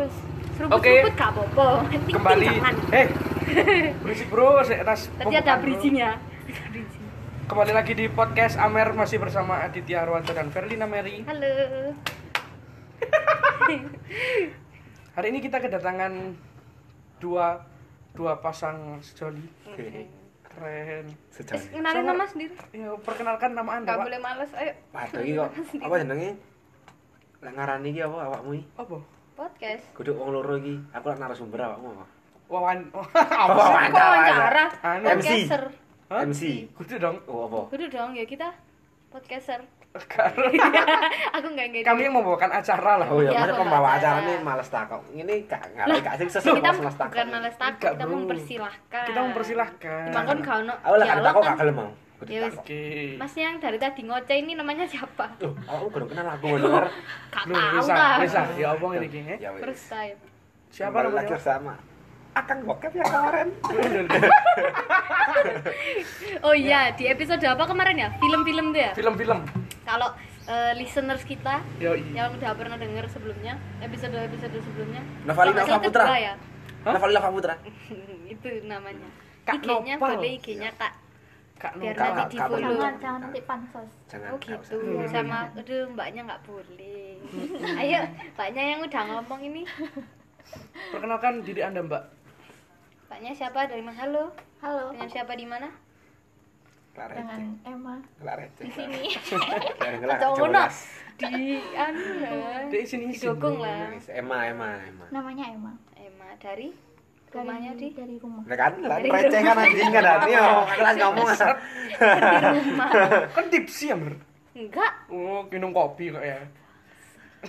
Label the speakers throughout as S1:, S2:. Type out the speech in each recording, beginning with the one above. S1: Oke.
S2: ngumpet-ngumpet gak apa-apa penting
S1: Kembali. Oh,
S2: jangan
S1: Eh. Berisik bro, saya tas.
S2: tadi ada bridgingnya Ada bridging.
S1: Kembali lagi di podcast Amer masih bersama Aditya Arwanto dan Verlina Mary.
S2: halo
S1: Hari ini kita kedatangan dua dua pasang sejoli.
S3: Oke,
S1: Keren.
S3: sejauh ini.
S4: Eh, Kenalin
S1: Sama-
S4: nama sendiri.
S1: Ya, perkenalkan nama Anda,
S4: Gak
S1: Pak.
S4: boleh males, ayo
S3: Waduh iki kok apa jenenge? Lek ngarani iki apa awakmu iki?
S1: Apa?
S4: podcast.
S3: Kudu wong loro iki. Aku lek narasumber awakmu apa?
S1: Wawan. apa?
S3: Wawan.
S4: Kok wawancara?
S1: Oh, Anu.
S4: Podcaster.
S1: Hah?
S3: MC.
S1: Kudu dong.
S3: Oh apa?
S4: Udah dong ya kita podcaster.
S1: Karena
S4: Iya, Aku nggak ngerti.
S1: Kami yang membawakan acara lah.
S3: Oh ya,
S4: Ya,
S3: mana
S4: aku
S3: pembawa
S4: nggak
S3: acara
S4: salah.
S3: nih males takok. Ini gak
S4: Lah,
S3: ngarep gak sih sesuai
S4: kita
S3: males takok.
S4: bukan males takut,
S1: Enggak,
S4: kita
S1: Bro.
S4: mempersilahkan.
S1: Kita mempersilahkan.
S4: Makon gak ono.
S3: Aku lek
S4: dialog
S3: gak takok
S4: kan.
S3: gak gelem mau. Kudu
S4: Ya wis.
S3: takok.
S1: Oke.
S4: Mas yang dari tadi ngoceh ini namanya siapa?
S3: Loh, awakmu kudu kenal aku bener.
S4: Gak
S1: Lu
S4: tahu
S1: bisa,
S4: lah.
S1: bisa. Ya obong ini gini.
S3: Ya wis.
S4: First time.
S1: Siapa
S3: Kembali
S1: namanya?
S3: lagi bersama? Akang bokep ya kemarin.
S4: Oh iya, di episode apa kemarin ya? Film-film tuh ya.
S1: Film-film.
S4: Kalau eh, listeners kita
S1: Yo. iya.
S4: yang udah pernah denger sebelumnya, episode-episode sebelumnya.
S3: Novalina
S4: Kalau nggak salah
S3: Saputra.
S4: kedua ya.
S1: Hah?
S3: Navalila Putra.
S4: itu namanya
S1: Kak
S4: IG-nya
S1: Nopal.
S4: boleh IG-nya kak
S1: Kak
S4: Biar
S1: Nungka.
S4: nanti
S3: Kak-
S4: di-follow.
S3: Kak-
S2: jangan jangan nanti pansos
S3: Jangan.
S4: oh
S3: gak
S4: gitu
S3: Iya. usah.
S4: sama aduh mbaknya nggak boleh ayo mbaknya yang udah ngomong ini
S1: Perkenalkan diri Anda, Mbak.
S4: mbaknya siapa dari mana halo
S2: halo
S4: dengan siapa di mana
S3: Lare.
S2: Eh, dengan Emma
S3: Lare.
S2: di sini
S4: Kacau
S3: Kacau
S4: ngono. di anu lah.
S1: Di sini
S4: didukung lah
S3: Emma, Emma, Emma.
S2: namanya Emma
S4: Emma dari
S2: Dari-
S4: rumahnya di
S2: dari rumah
S3: Nah kan, lah receh kan anjing kan hati oh, kelas ngomong asal.
S1: Kan tipsi ya, Mer.
S4: enggak
S1: Oh, minum kopi kok ya.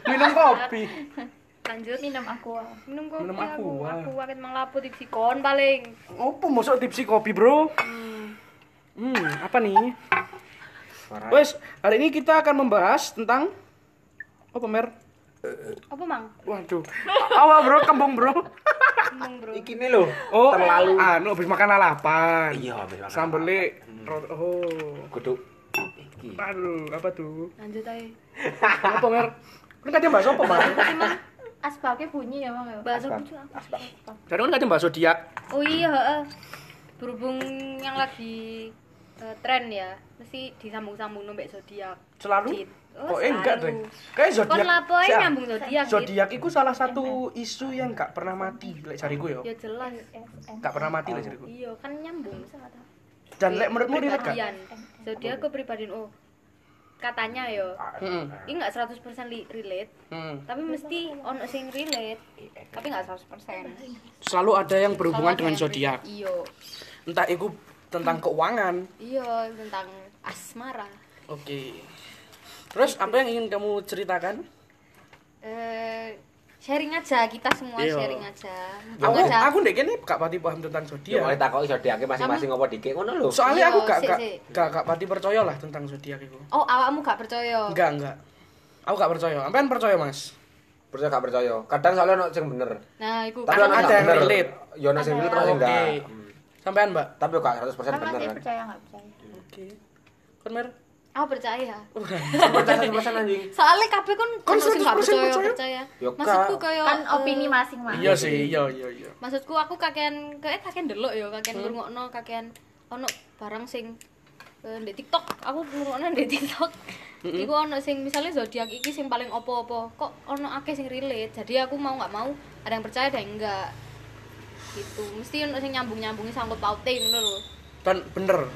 S1: Minum kopi.
S4: lanjut
S2: minum aqua
S4: minum kopi
S1: Minum ah.
S4: aku
S1: aqua.
S4: aku wakit melapu di sikon paling
S1: Apa masuk tipsi kopi, Bro? Hmm, apa nih? Wes, hari ini kita akan membahas tentang apa, Mer?
S4: apa mang
S1: Waduh. Awal, Bro, kembung, Bro.
S4: ngomong bro
S3: Iki nih loh.
S1: Oh, terlalu anu habis makan lalapan.
S3: Iya, habis makan
S1: Sambele. ro- Oh.
S3: Kudu iki.
S1: Aduh, apa tuh?
S4: lanjut aja
S1: Apa, Mer? Kan tadi bahas apa, Bang?
S2: asbaknya bunyi ya mang ya
S4: bahasa
S3: Asbak,
S4: kucing
S3: asbak.
S1: Tadi kan tadi bahas zodiak.
S4: Oh iya, heeh. berhubung yang lagi eh, tren ya, mesti disambung-sambung nombek zodiak.
S1: Selalu?
S4: Di-
S1: Oh,
S4: oh,
S1: eh, enggak,
S4: selalu.
S1: Dre. Kayak zodiak.
S4: Kon lapo ae
S1: Siap.
S4: nyambung ya? zodiak. Dit?
S1: Zodiak itu salah satu isu yang gak pernah mati lek cariku yo.
S4: Ya jelas.
S2: SM
S1: Gak pernah mati lek cariku.
S4: Iya, kan nyambung.
S1: Dan lek menurutmu relate gak?
S4: Kepribadian. Zodiak kepribadian oh. Katanya yo.
S1: Heeh.
S4: Ini enggak 100% li- relate,
S1: Hmm.
S4: tapi mesti ono sing relate. Tapi enggak 100%.
S1: Selalu ada yang berhubungan dengan
S4: Soalnya-
S1: zodiak.
S4: Iya.
S1: Entah itu tentang keuangan.
S4: Iya, tentang asmara.
S1: Oke. Terus apa yang ingin kamu ceritakan?
S4: Eh sharing aja kita semua
S1: Iya.
S4: sharing aja.
S1: Aku
S4: Mumpung ada-
S1: aku ndek kene gak pati paham tentang
S3: Ya mulai
S1: zodiak.
S3: takoki zodiake masing-masing apa dikek ngono lho.
S1: Soalnya aku
S4: Iya,
S1: gak
S4: sik,
S1: gak
S4: sik.
S1: gak gak pati percaya lah tentang zodiak itu.
S4: Oh, awakmu gak percaya?
S1: Enggak, enggak. Aku gak percaya. Sampean percaya, Mas?
S3: Percaya gak percaya. Kadang soalnya ono sing bener.
S4: Nah, iku
S3: Tapi
S1: Kan
S3: ono
S1: ada
S3: sing
S1: yang
S3: bener.
S1: relate.
S3: Ya ono sing relate ono sing enggak.
S1: Oke. Sampean, Mbak?
S3: Tapi kok 100%
S2: Emang
S3: bener
S2: sih
S3: kan.
S2: percaya nggak percaya
S1: Oke. Kon Mer?
S4: aku percaya.
S3: Percaya 100% anjing.
S4: Soalnya kabeh kan
S1: Kan
S4: ono sing gak
S1: 100%
S4: percaya,
S1: percaya.
S4: percaya.
S3: Ya,
S4: Maksudku
S3: Kak.
S4: kaya
S2: kan
S4: eh,
S2: opini masing-masing
S1: Iya sih, iya iya iya.
S4: Maksudku aku kakean kayak kakean delok ya, kakean ngrungokno, kakean ono barang sing eh, di TikTok, aku ngrungokno di TikTok. Iku ono sing misalnya zodiak iki sing paling opo-opo, kok ono akeh sing relate. Jadi aku mau nggak mau ada yang percaya ada yang enggak. Gitu. Mesti ono sing nyambung-nyambungi sangkut pautin ngono lho.
S1: Dan bener.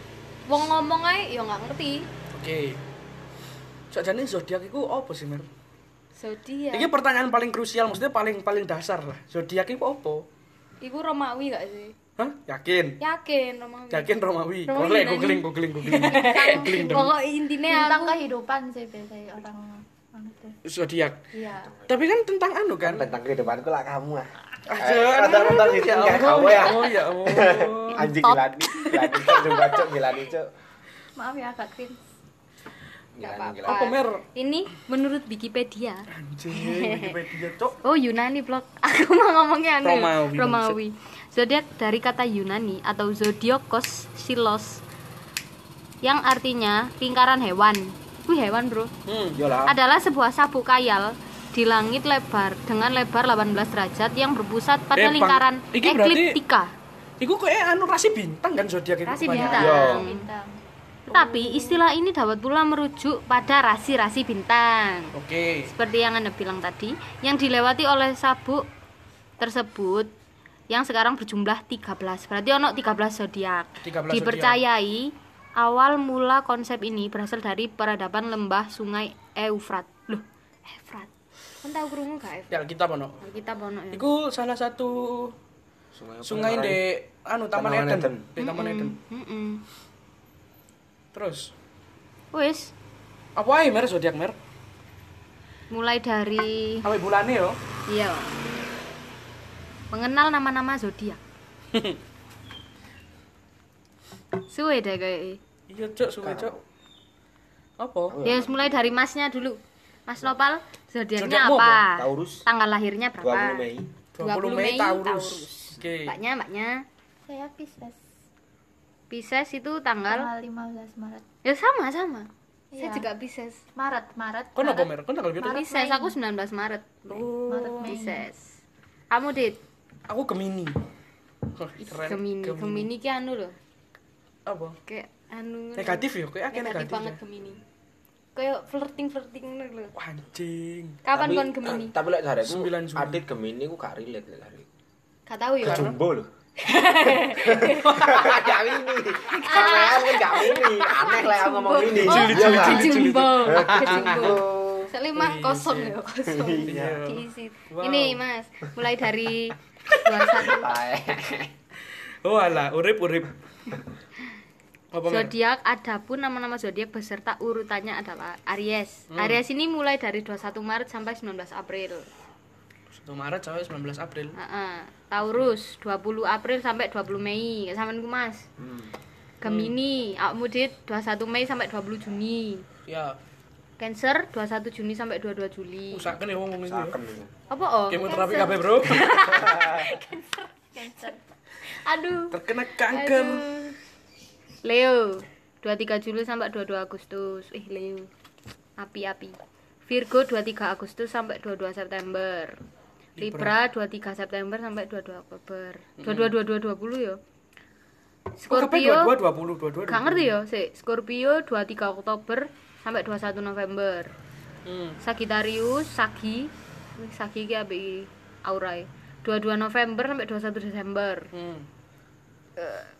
S4: Wong ngomong ae ya nggak ngerti.
S1: Oke. Sajane zodiak iku apa sih, Mer?
S4: Zodiak.
S1: Ini pertanyaan paling krusial, maksudnya paling paling dasar lah. Zodiak iku apa?
S4: Iku Romawi gak sih?
S1: Hah? Yakin?
S4: Yakin Romawi.
S1: Yakin Romawi.
S4: Romawi
S1: Boleh
S4: Yunani.
S1: googling googling googling. googling dong.
S4: Pokok intinya
S2: tentang
S4: aku
S2: kehidupan sih biasanya orang anu orang itu
S1: Zodiak.
S2: iya
S1: Tapi kan tentang Eh, anu kan?
S3: Tentang kehidupanku lah kamu ah.
S1: Aduh,
S3: Nonton-nonton di
S1: ya
S3: sini gak
S1: Allah,
S3: gawe
S1: ya
S3: ah.
S1: Allah, ya Allah.
S3: Anjing gilani. Gilani cok coba cok gilani cok.
S2: maaf ya agak cringe
S3: Gilani gilani.
S1: Apa Mer?
S4: ini menurut Wikipedia.
S1: Anjing, Wikipedia cok.
S4: Oh Yunani blok. Aku mau ngomongnya anu.
S1: Romawi,
S4: Romawi. Zodiak dari kata Yunani atau zodiakos silos yang artinya lingkaran hewan. Wih hewan bro.
S1: Hmm.
S3: Yo lah.
S4: Adalah sebuah sabuk kayal di langit lebar dengan lebar 18 derajat yang berpusat pada
S1: Eh, Bang,
S4: lingkaran
S1: iki berarti-
S4: ekliptika.
S1: Iku kok eh anu rasi bintang kan zodiak itu.
S4: Rasi
S1: kebanyakan.
S4: bintang.
S1: Yo.
S2: bintang
S4: Tapi istilah ini dapat pula merujuk pada rasi-rasi bintang.
S1: Oke.
S4: Seperti yang Anda bilang tadi, yang dilewati oleh sabuk tersebut yang sekarang berjumlah 13. Berarti ono 13 zodiak.
S1: 13
S4: Dipercayai awal mula konsep ini berasal dari peradaban lembah sungai Eufrat. Loh, Eufrat. Kan tahu krungu gak Eufrat?
S1: Ya kita ono.
S4: Kita ono ya.
S1: Iku salah satu
S3: Sungai apa
S1: sungai
S3: namanya?
S1: di anu Taman,
S3: Taman
S1: Eden.
S3: Eden.
S1: Di Taman Eden.
S4: Hmm. Heeh.
S1: Terus
S4: Wis,
S1: apa ae mer zodiak mer?
S4: Hmm. mulai dari
S1: Sampai bulannya yo.
S4: iya. Mengenal nama-nama zodiak. Suwe deh kayak.
S1: Iya cok, suwe cok. Apa?
S4: Ya wis mulai dari masnya dulu. Mas Nopal, zodiaknya
S1: Zodiakmu apa?
S4: apa?
S3: Taurus.
S4: Tanggal lahirnya berapa?
S3: 20 Mei
S1: 20 Mei Taurus. Oke.
S4: Mbaknya, mbaknya.
S2: saya Pisces
S4: Pisces itu tanggal
S2: tanggal 15 Maret
S4: Ya sama, sama. Saya
S2: Iya.
S4: juga Pisces.
S2: Maret Maret
S1: Kon apa mer? Kon tanggal piro?
S2: Maret,
S4: Pisces
S2: Mei.
S4: aku 19 Maret. Oh.
S2: Maret Mei
S4: Pisces. Kamu Dit,
S1: Aku Gemini. Wah, keren.
S4: Gemini. Gemini ki anu loh.
S1: Apa?
S4: Kayak anu ngono.
S1: Negatif ya,
S4: negatif,
S1: kayak akeh negatif.
S4: banget Gemini. Kayak flirting-flirting ngono lho.
S1: Wah, Anjing.
S4: Kapan
S3: Tapi-
S4: kon Gemini?
S3: Tapi lek jareku
S1: 9 Juni.
S3: Adit Gemini ku gak relate lek jareku.
S4: Gak tahu ya.
S3: Jumbo lho. Gak ini. Sampean kan gak ini. Aneh lah aku ngomong ini.
S4: Oh,
S1: Juli, Juli, Juli, Juli.
S4: Jumbo. Jumbo. Selima
S1: Wih,
S4: kosong
S1: sih.
S4: ya, kosong.
S1: Iya.
S4: Diisi.
S1: Wow.
S4: Ini Mas, mulai dari 21
S1: Oh alah, urip-urip. Apa mer?
S4: zodiak adapun nama-nama zodiak beserta urutannya adalah Aries.
S1: Hmm.
S4: Aries ini mulai dari 21 Maret sampai 19 April.
S1: 1 Maret sampai 19 April.
S4: Heeh. Taurus 20 April sampai 20 Mei. Kayak sampean ku, Mas.
S1: Hmm.
S4: Gemini, awakmu Dit 21 Mei sampai 20 Juni.
S1: Ya,
S4: Cancer 21 Juni sampai 22 Juli.
S1: usahakan ya ngomong itu. ya.
S3: Saken itu.
S4: Apa oh?
S1: Kemoterapi kabeh, Bro.
S4: Aduh.
S1: Terkena kanker.
S4: Leo 23 Juli sampai 22 Agustus. Eh Leo. Api-api. Virgo 23 Agustus sampai 22 September. Libra 23 September sampai 22 Oktober. 22 22 20 ya. Scorpio
S1: Kok kabeh 22 20 22.
S4: Gak ngerti ya, sik. Scorpio 23 Oktober sampai 21 November.
S1: Hmm.
S4: Sagittarius, Sagi. Wih, Sagi ki ambek iki e. aurae. 22 November sampai 21 Desember.
S1: Hmm.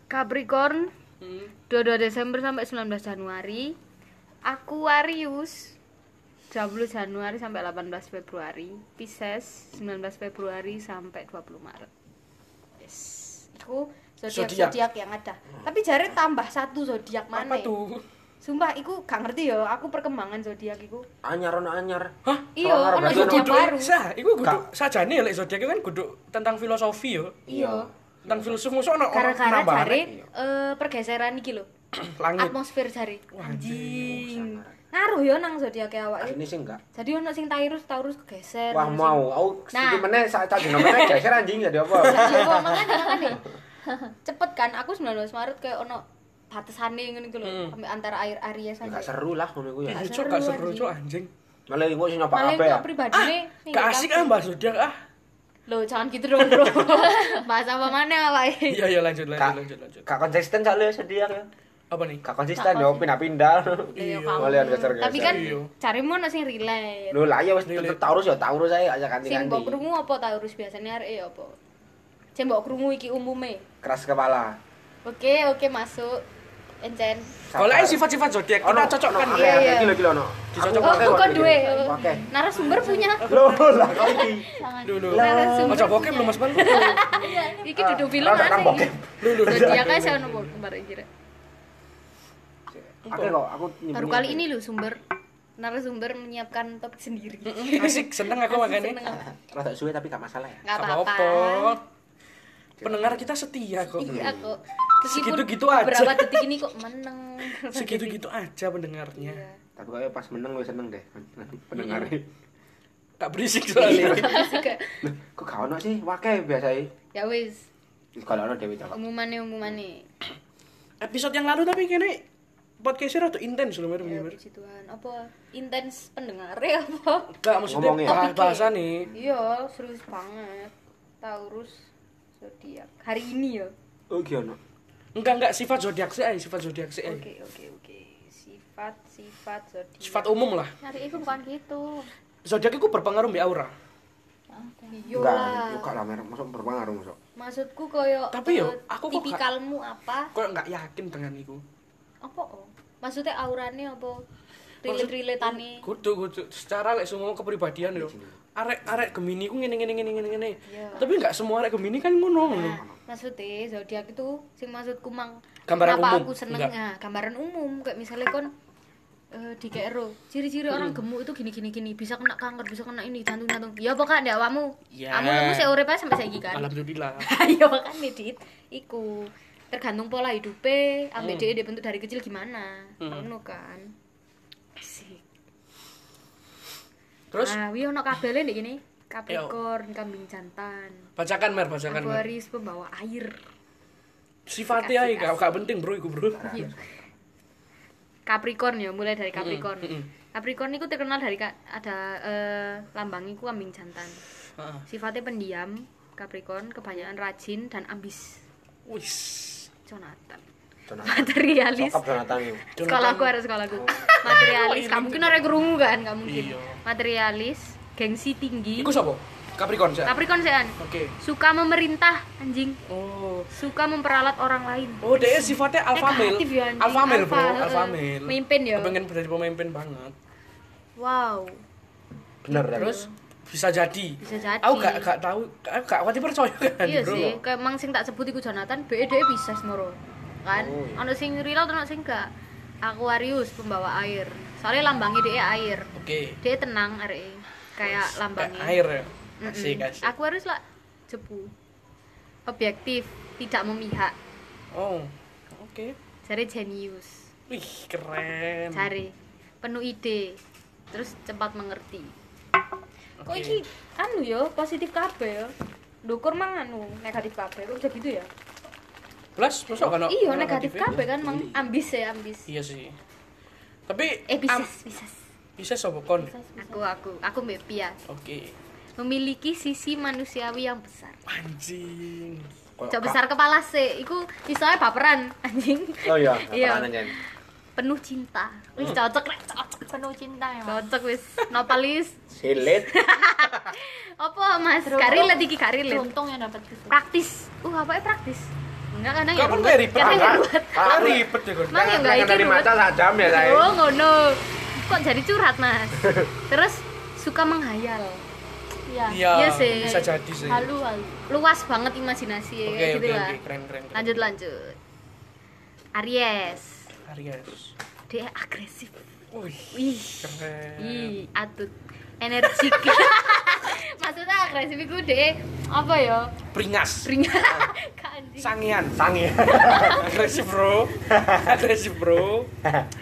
S4: Capricorn
S1: Hmm.
S4: 22 Desember sampai 19 Januari. Aquarius 20 Januari sampai 18 Februari. Pisces 19 Februari sampai 20 Maret. Yes. Iku
S1: Zodiak.
S4: zodiak zodiak yang ada. Tapi jare tambah satu zodiak mana? ya? Eh,
S1: Apa tuh?
S4: Sumpah iku gak ngerti ya, aku perkembangan zodiak iku.
S3: Anyar ono anyar.
S1: Hah?
S4: Iya,
S3: Solar
S4: ono
S3: berarti
S1: Iku
S4: zodiak
S1: kudu
S4: baru.
S1: sa, iku kudu
S3: Gak.
S1: sajane lek zodiak itu kan kudu tentang filosofi yo.
S4: Iya.
S1: Tentang filsuf musuh ono ono
S4: Gara-gara
S1: penambahan.
S4: jare eh, pergeseran iki lho.
S1: langit.
S4: Atmosfer jare.
S1: Wah, anjing.
S4: Ngaruh ya nang zodiak awake.
S3: Ini sih enggak.
S4: Jadi ono sing Taurus, Taurus kegeser.
S3: Wah
S4: ono sing-
S3: mau, aku sedikit
S4: Iya, Nah.
S3: meneh sak cak jenenge meneh geser anjing jadi apa.
S4: Ya apa makanya kan nih. Cepet kan aku 19 Maret kayak ono batasane ngono iku lho,
S3: Hmm.
S1: Mm.
S4: ambek antara air Aries aja.
S3: Enggak Ya, seru lah ngono iku ya.
S1: Iya,
S4: Gak
S1: cok, gak
S4: seru,
S1: seru,
S4: anjing.
S1: cok, anjing.
S3: Malah iku sing nyoba
S4: Malah
S3: kabeh.
S4: kok pribadine nih,
S1: Gak asik ah bahas zodiak ah.
S4: Loh, jangan gitu dong, Bro. Bahas apa e? mana awake?
S1: Iya, iya lanjut, lanjut,
S3: Kak.
S1: lanjut, lanjut.
S3: Gak konsisten sak le sedih ya.
S1: Apa nih?
S3: Gak konsisten yo pindah-pindah.
S4: Iya,
S3: Malah geser-geser.
S4: Tapi kan
S1: Iya.
S4: carimu ono sing relate.
S3: Lho lah ya wis
S1: Relate.
S3: tetep Taurus ya Taurus ae aja
S4: Sing mbok
S3: ganti-ganti.
S4: krungu apa Taurus biasanya arek ya apa? Sing mbok krungu iki umume.
S3: Keras kepala.
S4: Oke, oke masuk. Encen.
S1: Kalau eh,
S3: Sabar.
S1: sifat-sifat zodiak
S3: Ono
S1: kita cocokkan ya.
S3: ono, akeh,
S4: Iya,
S3: akeh,
S4: iya.
S3: Gila gila ono.
S1: Dicocok
S4: Oh,
S3: Aku-
S4: bukan
S3: aku-
S4: duwe.
S3: Oke.
S4: Narasumber punya.
S3: Lho lah kok iki.
S2: sangat
S1: Dulu.
S4: Langsung
S1: Ojo bokep lu Mas Bang.
S4: Iya, Iki duduk film
S3: Ora nang
S4: aneh.
S3: bokep.
S1: Lu lu.
S4: Zodiak ae saya nomor kembar kira.
S3: Oke kok aku nyimpen-
S4: Baru kali ini lu sumber narasumber menyiapkan topik sendiri.
S1: Asik, seneng aku
S4: Seneng
S1: makanya.
S4: apa?
S3: Rada suwe tapi gak masalah ya.
S4: Nggak
S1: Gak
S4: apa-apa.
S1: Pendengar kita setia kok.
S4: Iya kok.
S1: Segitu-gitu
S4: Meskipun
S1: aja.
S4: Berapa detik ini kok meneng.
S1: Segitu-gitu aja pendengarnya.
S3: Tapi kayaknya pas meneng wis seneng deh
S4: Iya.
S3: pendengarnya.
S1: Gak berisik soalnya.
S3: Loh, kok gak ono sih wake biasanya.
S4: Ya wis,
S3: Kalau ono dewe coba.
S4: umumane umumane.
S1: Episode yang lalu tapi kini podcastnya rada intens loh, Mir,
S2: Ya,
S1: Mir.
S2: puji Tuhan. Apa
S4: ya,
S2: intens pendengare apa?
S1: Enggak maksudnya
S3: Ngomongnya.
S1: bah-
S2: Topiknya.
S1: bahasa nih.
S2: Iya, serius banget. Taurus zodiak. Hari ini ya.
S3: Oh, gimana?
S1: Enggak enggak sifat zodiak sih, ay, sifat eh. zodiak sih. ay.
S2: Oke, oke, oke. Sifat sifat zodiak.
S1: Sifat umum lah.
S5: Nyari itu bukan gitu.
S1: Zodiak itu berpengaruh di aura.
S2: Iya
S3: Enggak,
S2: lah.
S3: enggak lah, Mer. Masuk berpengaruh, masuk.
S2: Maksudku koyo
S1: Tapi yo,
S2: eh,
S1: aku kok gak-
S2: tipikalmu apa?
S1: Kok enggak yakin dengan itu?
S2: Apa? oh? Maksudnya aurane apa?
S1: Maksud-
S2: Relate-relatane.
S1: Kudu kudu secara lek semua kepribadian yo. Arek arek Gemini ku ngene ngene ngene ngene ngene.
S2: Iya.
S1: Tapi enggak semua arek Gemini kan ngono ngono.
S2: Nah, maksudnya zodiak itu sing maksudku mang
S1: Gambaran
S2: kenapa
S1: umum,
S2: aku seneng
S1: enggak.
S2: nah, gambaran umum kayak misalnya kon eh di KRO ciri-ciri orang
S1: Hmm.
S2: gemuk itu gini gini gini bisa kena kanker bisa kena ini jantung jantung ya pokoknya ndak awakmu
S1: Ya.
S2: kamu kamu sih urip aja sampai saiki kan
S1: Alhamdulillah.
S2: ya makanya dit iku tergantung pola hidupnya ambek dia dia bentuk dari kecil gimana ngono kan Asik.
S1: Terus
S2: ah wi ono kabele ndek gini Capricorn kambing jantan
S1: bacakan Mer, bacakan Mer.
S2: Aquarius pembawa air
S1: Sifatnya ae gak gak penting, Bro, iku, Bro.
S2: Iya. Capricorn ya, mulai dari Capricorn.
S1: mm-mm.
S2: Capricorn itu terkenal dari ka- ada eh, lambang iku kambing jantan.
S1: Heeh.
S2: Sifatnya pendiam, Capricorn kebanyakan rajin dan ambis.
S1: Wis.
S2: Jonathan.
S3: Jonathan.
S2: Materialis.
S3: Sokap Jonathan ini.
S2: Sekolahku harus sekolahku. Materialis. Kamu mungkin orang kerungu kan, nggak mungkin.
S1: Iya.
S2: Materialis, gengsi tinggi.
S1: Iku sapa? Capricorn sih.
S2: Capricorn sean.
S1: Oke.
S2: Suka memerintah, anjing.
S1: Oh.
S2: Suka memperalat orang lain.
S1: Oh, dia sifatnya alpha male.
S2: Negatif ya, anjing.
S1: Alpha male, Bro.
S2: Alpha,
S1: Alpha
S2: eh,
S1: male.
S2: pemimpin ya.
S1: Pengen jadi pemimpin banget.
S2: Wow.
S3: Bener tapi.
S1: Terus bisa jadi.
S2: Bisa jadi.
S1: Aku gak gak tahu, aku gak kuat percaya kan,
S2: iya
S1: Bro.
S2: sih kayak mang sing tak sebut iku Jonathan BE dhewe Pisces moro kan
S3: Oh, iya.
S2: ono sing relate ono sing gak Aquarius pembawa air soalnya lambangnya dia air
S1: Oke.
S2: dia tenang areke kayak
S1: Kayak
S2: lambangnya
S1: air ya.
S2: Mm-mm.
S1: Kasih kasih.
S2: Aquarius lah jepu objektif tidak memihak
S1: Oh. Oke.
S2: cari jenius
S1: Wih, keren.
S2: cari penuh ide terus cepat mengerti
S1: Oke.
S2: kok iki anu yo positif kabeh yo dukur mang anu negatif kabeh kok bisa gitu ya
S1: Plus, masuk kan?
S2: iya negatif kabeh kan mang ambis ya ambis
S1: Iya sih. Tapi
S2: eh
S1: Iya. am-
S2: Pisces Pisces
S1: bisa sapa kon?
S2: aku aku aku Mbak Pia
S1: Oke.
S2: memiliki sisi manusiawi yang besar
S1: Anjing.
S3: Kok-
S2: Cok besar kepala sih iku istilahnya baperan anjing
S3: Oh iya,
S2: Iya.
S3: apaan aja.
S2: penuh cinta wis cocok rek, cocok
S5: Penuh cinta memang.
S2: cocok wis nopalis
S3: Silit.
S2: apa mas
S5: Beruntung.
S2: kari let iki kari
S5: Beruntung yang dapat gitu.
S2: praktis uh apa ya praktis enggak kadang
S1: Kau kan
S2: ruwet.
S1: kayak ribet,
S2: kadang Nah, ya
S1: kan?
S2: ruwet
S1: Kan ribet ya kon.
S2: mang ya enggak iki
S3: Kan dari
S2: ruwet.
S3: mata sak jam ya, saya.
S2: oh ngono kok jadi curhat mas terus suka menghayal
S5: Iya.
S1: Iya,
S2: Iya sih.
S1: bisa jadi sih. Oke,
S5: Halu halu.
S2: luas banget imajinasi ya
S1: oke,
S2: kayak gitu lah
S1: oke, keren, keren. keren.
S2: lanjut lanjut Aries
S1: Aries.
S2: dia agresif
S1: ya, Wih,
S2: wih
S1: keren.
S2: ih atut energik maksudnya agresif itu dia apa ya
S1: Beringas.
S2: ringan kanji
S1: Sangian.
S3: Sangi.
S1: Agresif, Bro. Agresif, Bro.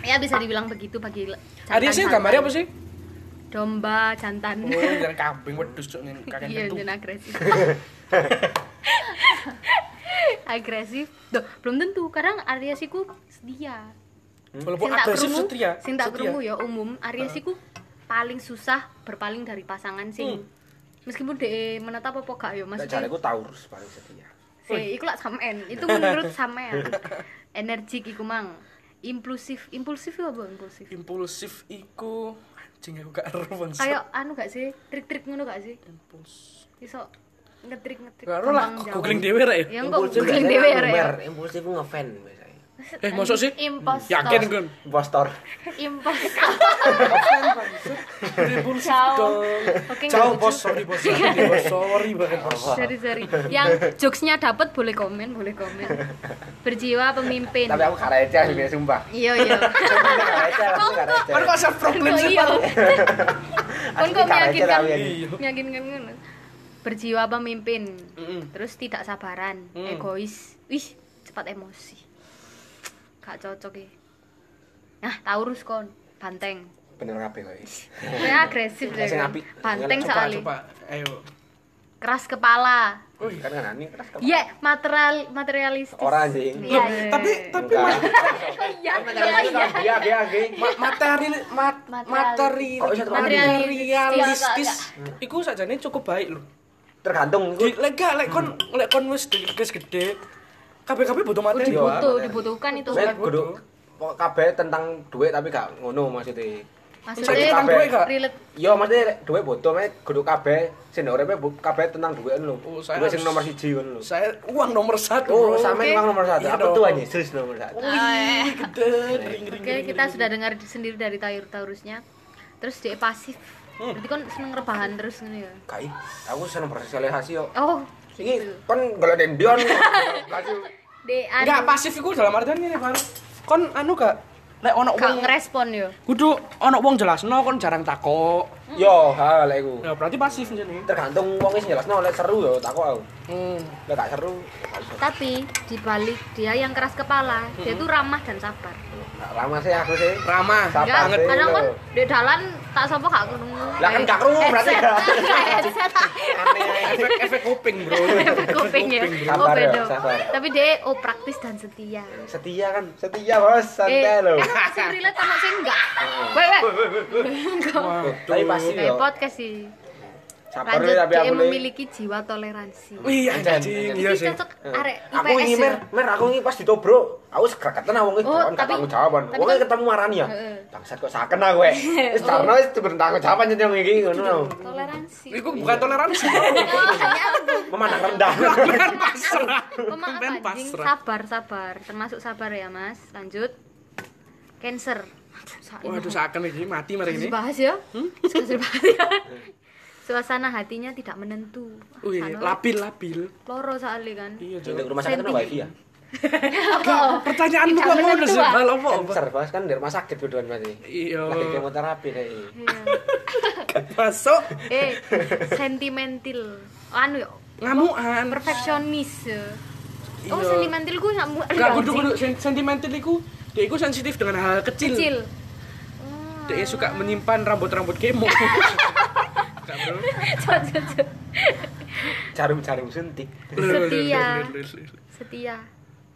S2: ya bisa dibilang begitu bagi le- jantan-
S1: Aries sih
S2: jantan.
S1: gambarnya apa sih?
S2: domba jantan
S1: Oh, jangan kambing wedhus cuk nih kakek
S2: iya
S1: itu.
S2: jen agresif agresif Duh, belum tentu kadang Aries iku setia
S1: Walaupun agresif setia.
S2: sing
S1: setia.
S2: tak ya. krungu ya umum Aries iku paling susah berpaling dari pasangan sing
S1: Hmm.
S2: meskipun de menetap apa gak ya
S3: Nggak
S2: maksudnya
S3: cari aku Taurus paling setia.
S2: sih iku lak sampean itu menurut sampean energik iku mang impulsif impulsif ya apa impulsif
S1: Impulsif iku anjing aku gak ero bangsa.
S2: kayak anu gak sih trik-trik ngono gak sih
S1: impuls.
S2: iso ngetrik ngetrik
S1: Gak ero lah, kok googling dhewe rek ya.
S2: ya engko
S3: Impulsif
S2: googling
S3: biasanya
S2: dhewe ya
S3: aku
S2: Rek.
S3: mer, Impulsif aku ngefan biasanya.
S1: Eh, masuk sih?
S5: Impostor.
S1: Yakin kon.
S3: Impostor.
S5: Impostor.
S1: Impulsif
S5: Jauh.
S1: dong.
S2: oke nggak
S1: Jauh
S2: lucu.
S1: bos, sorry bos, sorry bos, sorry banget bos.
S2: sorry sorry yang jokesnya dapat boleh komen boleh komen berjiwa pemimpin
S1: Iya.
S3: Tapi aku karece asli biasa sumpah.
S2: iya iya
S3: Karece, aku karece.
S1: Kan kok self problem
S2: kok
S1: sih
S2: iya
S1: Pak?
S2: kan
S3: Asli
S2: kok
S3: karece
S2: meyakinkan
S3: tapi ini.
S1: Iya.
S2: meyakinkan ngono berjiwa pemimpin
S1: Mm-mm.
S2: terus tidak sabaran
S1: Mm.
S2: egois wih cepat emosi gak cocok ya nah Taurus kon banteng
S3: Bener kabeh kok.
S2: ya agresif
S3: Sing
S2: ya kan
S3: apik.
S2: banteng
S1: Coba,
S2: soalnya
S1: coba. Ayo.
S2: keras kepala.
S3: Wih, kan kan anjing keras kepala.
S2: Iya, material materialistis.
S3: Orang anjing.
S1: Loh,
S2: Iya, iya,
S1: tapi
S2: iya.
S1: tapi
S3: Enggak.
S1: mas iya,
S3: Kan materialis itu kan dia dia geng.
S1: ma- materi mat, materi
S3: Kok bisa terlalu-
S1: materialistis iku sajane cukup baik lho.
S3: Tergantung iku.
S1: Di- Lek gak lek kon lek kon wis di- wis gede kabeh-kabeh butuh materi.
S3: Iya.
S4: Butuh, dibutuhkan itu.
S3: Saya
S1: Butuh.
S3: kudu pokok kabeh tentang duit tapi gak ngono maksudnya.
S1: Jadi
S3: Jadi
S1: tentang
S3: kabeh.
S1: duit gak?
S4: Relate.
S3: Iya, maksudnya lek duit butuh mek kudu kabeh sing urepe bu- kabeh tentang duit lho.
S1: Oh, saya
S3: Duit sing
S1: harus-
S3: nomor 1 ngono lho.
S1: Saya uang nomor satu.
S3: Oh,
S1: bro.
S3: sampe
S1: Oke.
S3: memang nomor 1.
S1: Iya
S3: Aku
S1: dong. Oh.
S3: tuh anjing serius nomor 1.
S1: Wih, gede.
S3: Iya.
S1: Ring, ring,
S2: Oke,
S1: ring,
S2: kita
S3: gitu.
S1: ring.
S2: sudah dengar di- sendiri dari Tayur Taurusnya. Terus dia pasif.
S3: Hmm.
S2: Berarti kan seneng rebahan terus gitu ya.
S3: Kai, aku seneng bersosialisasi yo.
S2: Oh,
S3: Ini kan golek dendion.
S2: de
S1: Enggak
S2: anu
S1: pasif iku dalam artian ini baru. Kon anu gak lek ono
S2: gak
S1: wong
S2: ngerespon yo.
S1: kudu ono wong jelasno kon jarang takok.
S3: Yo, ha lek iku.
S1: Ya berarti pasif jenenge.
S3: Tergantung wong sing jelasno lek seru yo takok aku.
S1: Hmm.
S3: Lek gak seru, gak iso.
S2: Tapi dibalik dia yang keras kepala,
S3: Hmm.
S2: dia tuh ramah dan sabar.
S3: Gak lama sih aku sih.
S1: Ramah. Enggak.
S3: Sabar.
S2: Enggak,
S3: banget.
S2: kadang kan di dalan tak sapa gak krungu.
S3: Iya. Lah kan gak krungu berarti
S1: Eh,
S3: gak.
S2: Kayak headset tak
S1: Efek efek kuping, Bro.
S2: efek kuping ya. Oh
S3: Sabar ya,
S2: beda.
S3: sabar.
S2: Tapi dia oh praktis dan setia.
S3: Setia kan, setia bos, santai Hmm.
S2: eh,
S3: lho.
S2: emang sing relate sama sing enggak. Weh weh.
S1: eh.
S3: Tapi pasti
S2: Kayak
S3: yo.
S2: podcast sih.
S3: Sabar
S2: Lanjut
S3: weh, tapi
S1: eh,
S2: dia
S3: aku leh.
S2: memiliki jiwa toleransi.
S1: Wih, anjing,
S3: Anjing,
S1: iya
S2: Ini
S1: sih.
S2: cocok
S3: Eh,
S2: arek
S3: Aku
S2: IPS
S3: ini
S2: ya.
S3: mer, mer aku ini pas ditobro, aku sekreten aku ini kan
S2: Oh,
S3: gak
S2: tapi-
S3: tanggung jawaban.
S2: tapi
S3: Wong
S2: kan-
S3: ketemu marani ya.
S4: Heeh.
S3: Bangsat kok saken aku weh. Wis karena wis ben tanggung jawaban nyeneng iki ngono.
S4: Toleransi.
S1: Iku bukan toleransi.
S3: Memandang rendah.
S1: Kan pasrah.
S2: Pemaaf
S1: Ben Kan
S2: anjing,
S1: pasrah.
S2: sabar sabar, termasuk sabar ya Mas. Lanjut. Cancer. Aduh, sakit.
S1: Waduh, saken iki mati mari ini. Hmm?
S2: dibahas ya Harus dibahas ya suasana hatinya tidak menentu Wah,
S1: Wih,
S2: kan
S1: labil labil.
S2: loro soalnya kan
S1: Iya,
S3: Jadi rumah sakit kan wifi ya.
S1: Pertanyaanmu kok ngono sih, Bal apa?
S3: Cancer bos kan di rumah sakit keduaan berarti.
S1: Iya.
S3: Lagi kemoterapi deh.
S2: Iya.
S1: Masuk
S2: eh sentimental anu ya
S1: ngamukan.
S2: perfeksionis ya. oh
S1: Iya.
S2: sentimental gue nggak mau
S1: Enggak
S2: aduh,
S1: kudu kudu sen- sentimental iku dia iku sensitif dengan hal
S2: anjing.
S1: kecil.
S2: kecil
S1: Dia suka menyimpan rambut-rambut kemo. Enggak, Bro.
S3: Jarum-jarum suntik.
S2: Setia. setia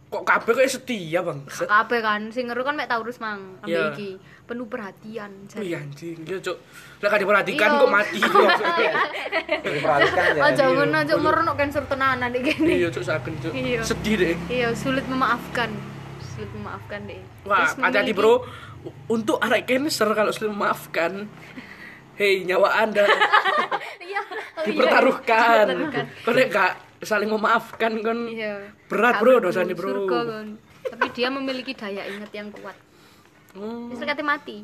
S1: Kok kabeh kok setia, Bang?
S2: kabeh kan sing ngeru kan mek taurus mang
S1: Iya.
S2: ambil iki penuh perhatian
S1: Wih
S2: jadi
S1: anjing, iya cuk. Lah gak diperhatikan
S2: Iya.
S1: kok mati.
S3: Diperhatikan ya.
S2: oh jangan aja merenung cancer tenanan iki gini
S1: Iya cuk saken cuk.
S2: Iya.
S1: Sedih deh.
S2: Iya, sulit memaafkan. Sulit memaafkan deh.
S1: Wah,
S2: Terus
S1: hati-hati
S2: memiliki-
S1: bro. U- Untuk arek cancer kalau sudah memaafkan, hei nyawa anda
S2: Iya. oh iya.
S1: dipertaruhkan.
S2: Dipertaruhkan.
S1: Kau enggak saling memaafkan kan?
S2: Iya.
S1: Berat
S2: Kabeh
S1: bro
S2: dulu
S1: dosanya bro.
S2: surga, kan. Tapi dia memiliki daya ingat yang kuat.
S1: Hmm,
S2: Wis kate mati.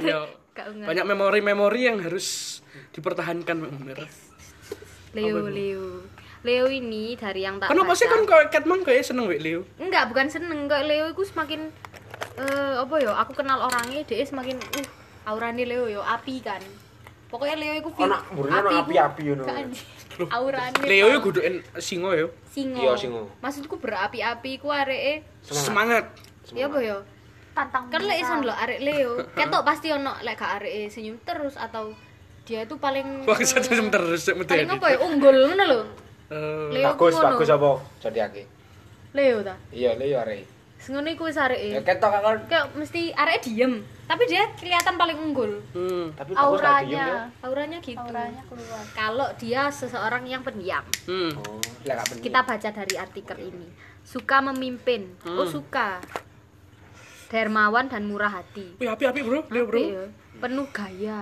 S1: iya.
S2: Gak ingat.
S1: Banyak memori-memori yang harus dipertahankan memang bener.
S2: Leo, Leo. Leo ini dari yang tak
S1: Kenapa
S2: baca-
S1: sih kan kau Catman kayak seneng wek Leo?
S2: Enggak, bukan seneng. Kok Leo itu semakin eh apa ya? Aku kenal orangnya dia semakin uh aurane Leo yo api kan. Pokoknya Leo itu
S3: Oh, nak burine nak api-api ngono.
S2: Kan, Aurane
S1: Leo ya kuduin singo ya.
S2: singo.
S3: Iya, singo.
S2: Maksudku berapi-api ku areke
S1: Semangat.
S2: ya apa ya?
S5: tantang
S2: Kan lek iso ndelok arek Leo, ketok pasti ono lek gak areke senyum terus atau dia itu paling
S1: Wah satu jam terus cek mati.
S2: paling apa ya unggul ngono lho.
S1: Eh,
S2: Leo
S3: Hmm,
S2: ku
S3: Bagus,
S2: ngono.
S3: bagus apa? Jadi aku.
S2: Leo ta.
S3: Iya, lho ya arek.
S2: Sengono iku wis
S3: Ya
S2: areke.
S3: ketok kan.
S2: Kayak mesti areke diem, tapi dia kelihatan paling unggul.
S1: hmm.
S3: Tapi bagus lah diem ya.
S2: Auranya, auranya gitu.
S5: auranya keluar
S2: Kalau dia seseorang yang pendiam,
S1: Hmm.
S3: Oh, lek gak bener.
S2: kita baca dari artikel ini. Suka memimpin. Oh,
S3: Hmm.
S2: suka. Dermawan dan murah hati.
S1: Wih api-api bro, Leo bro.
S4: ya?
S2: Iya. Penuh gaya.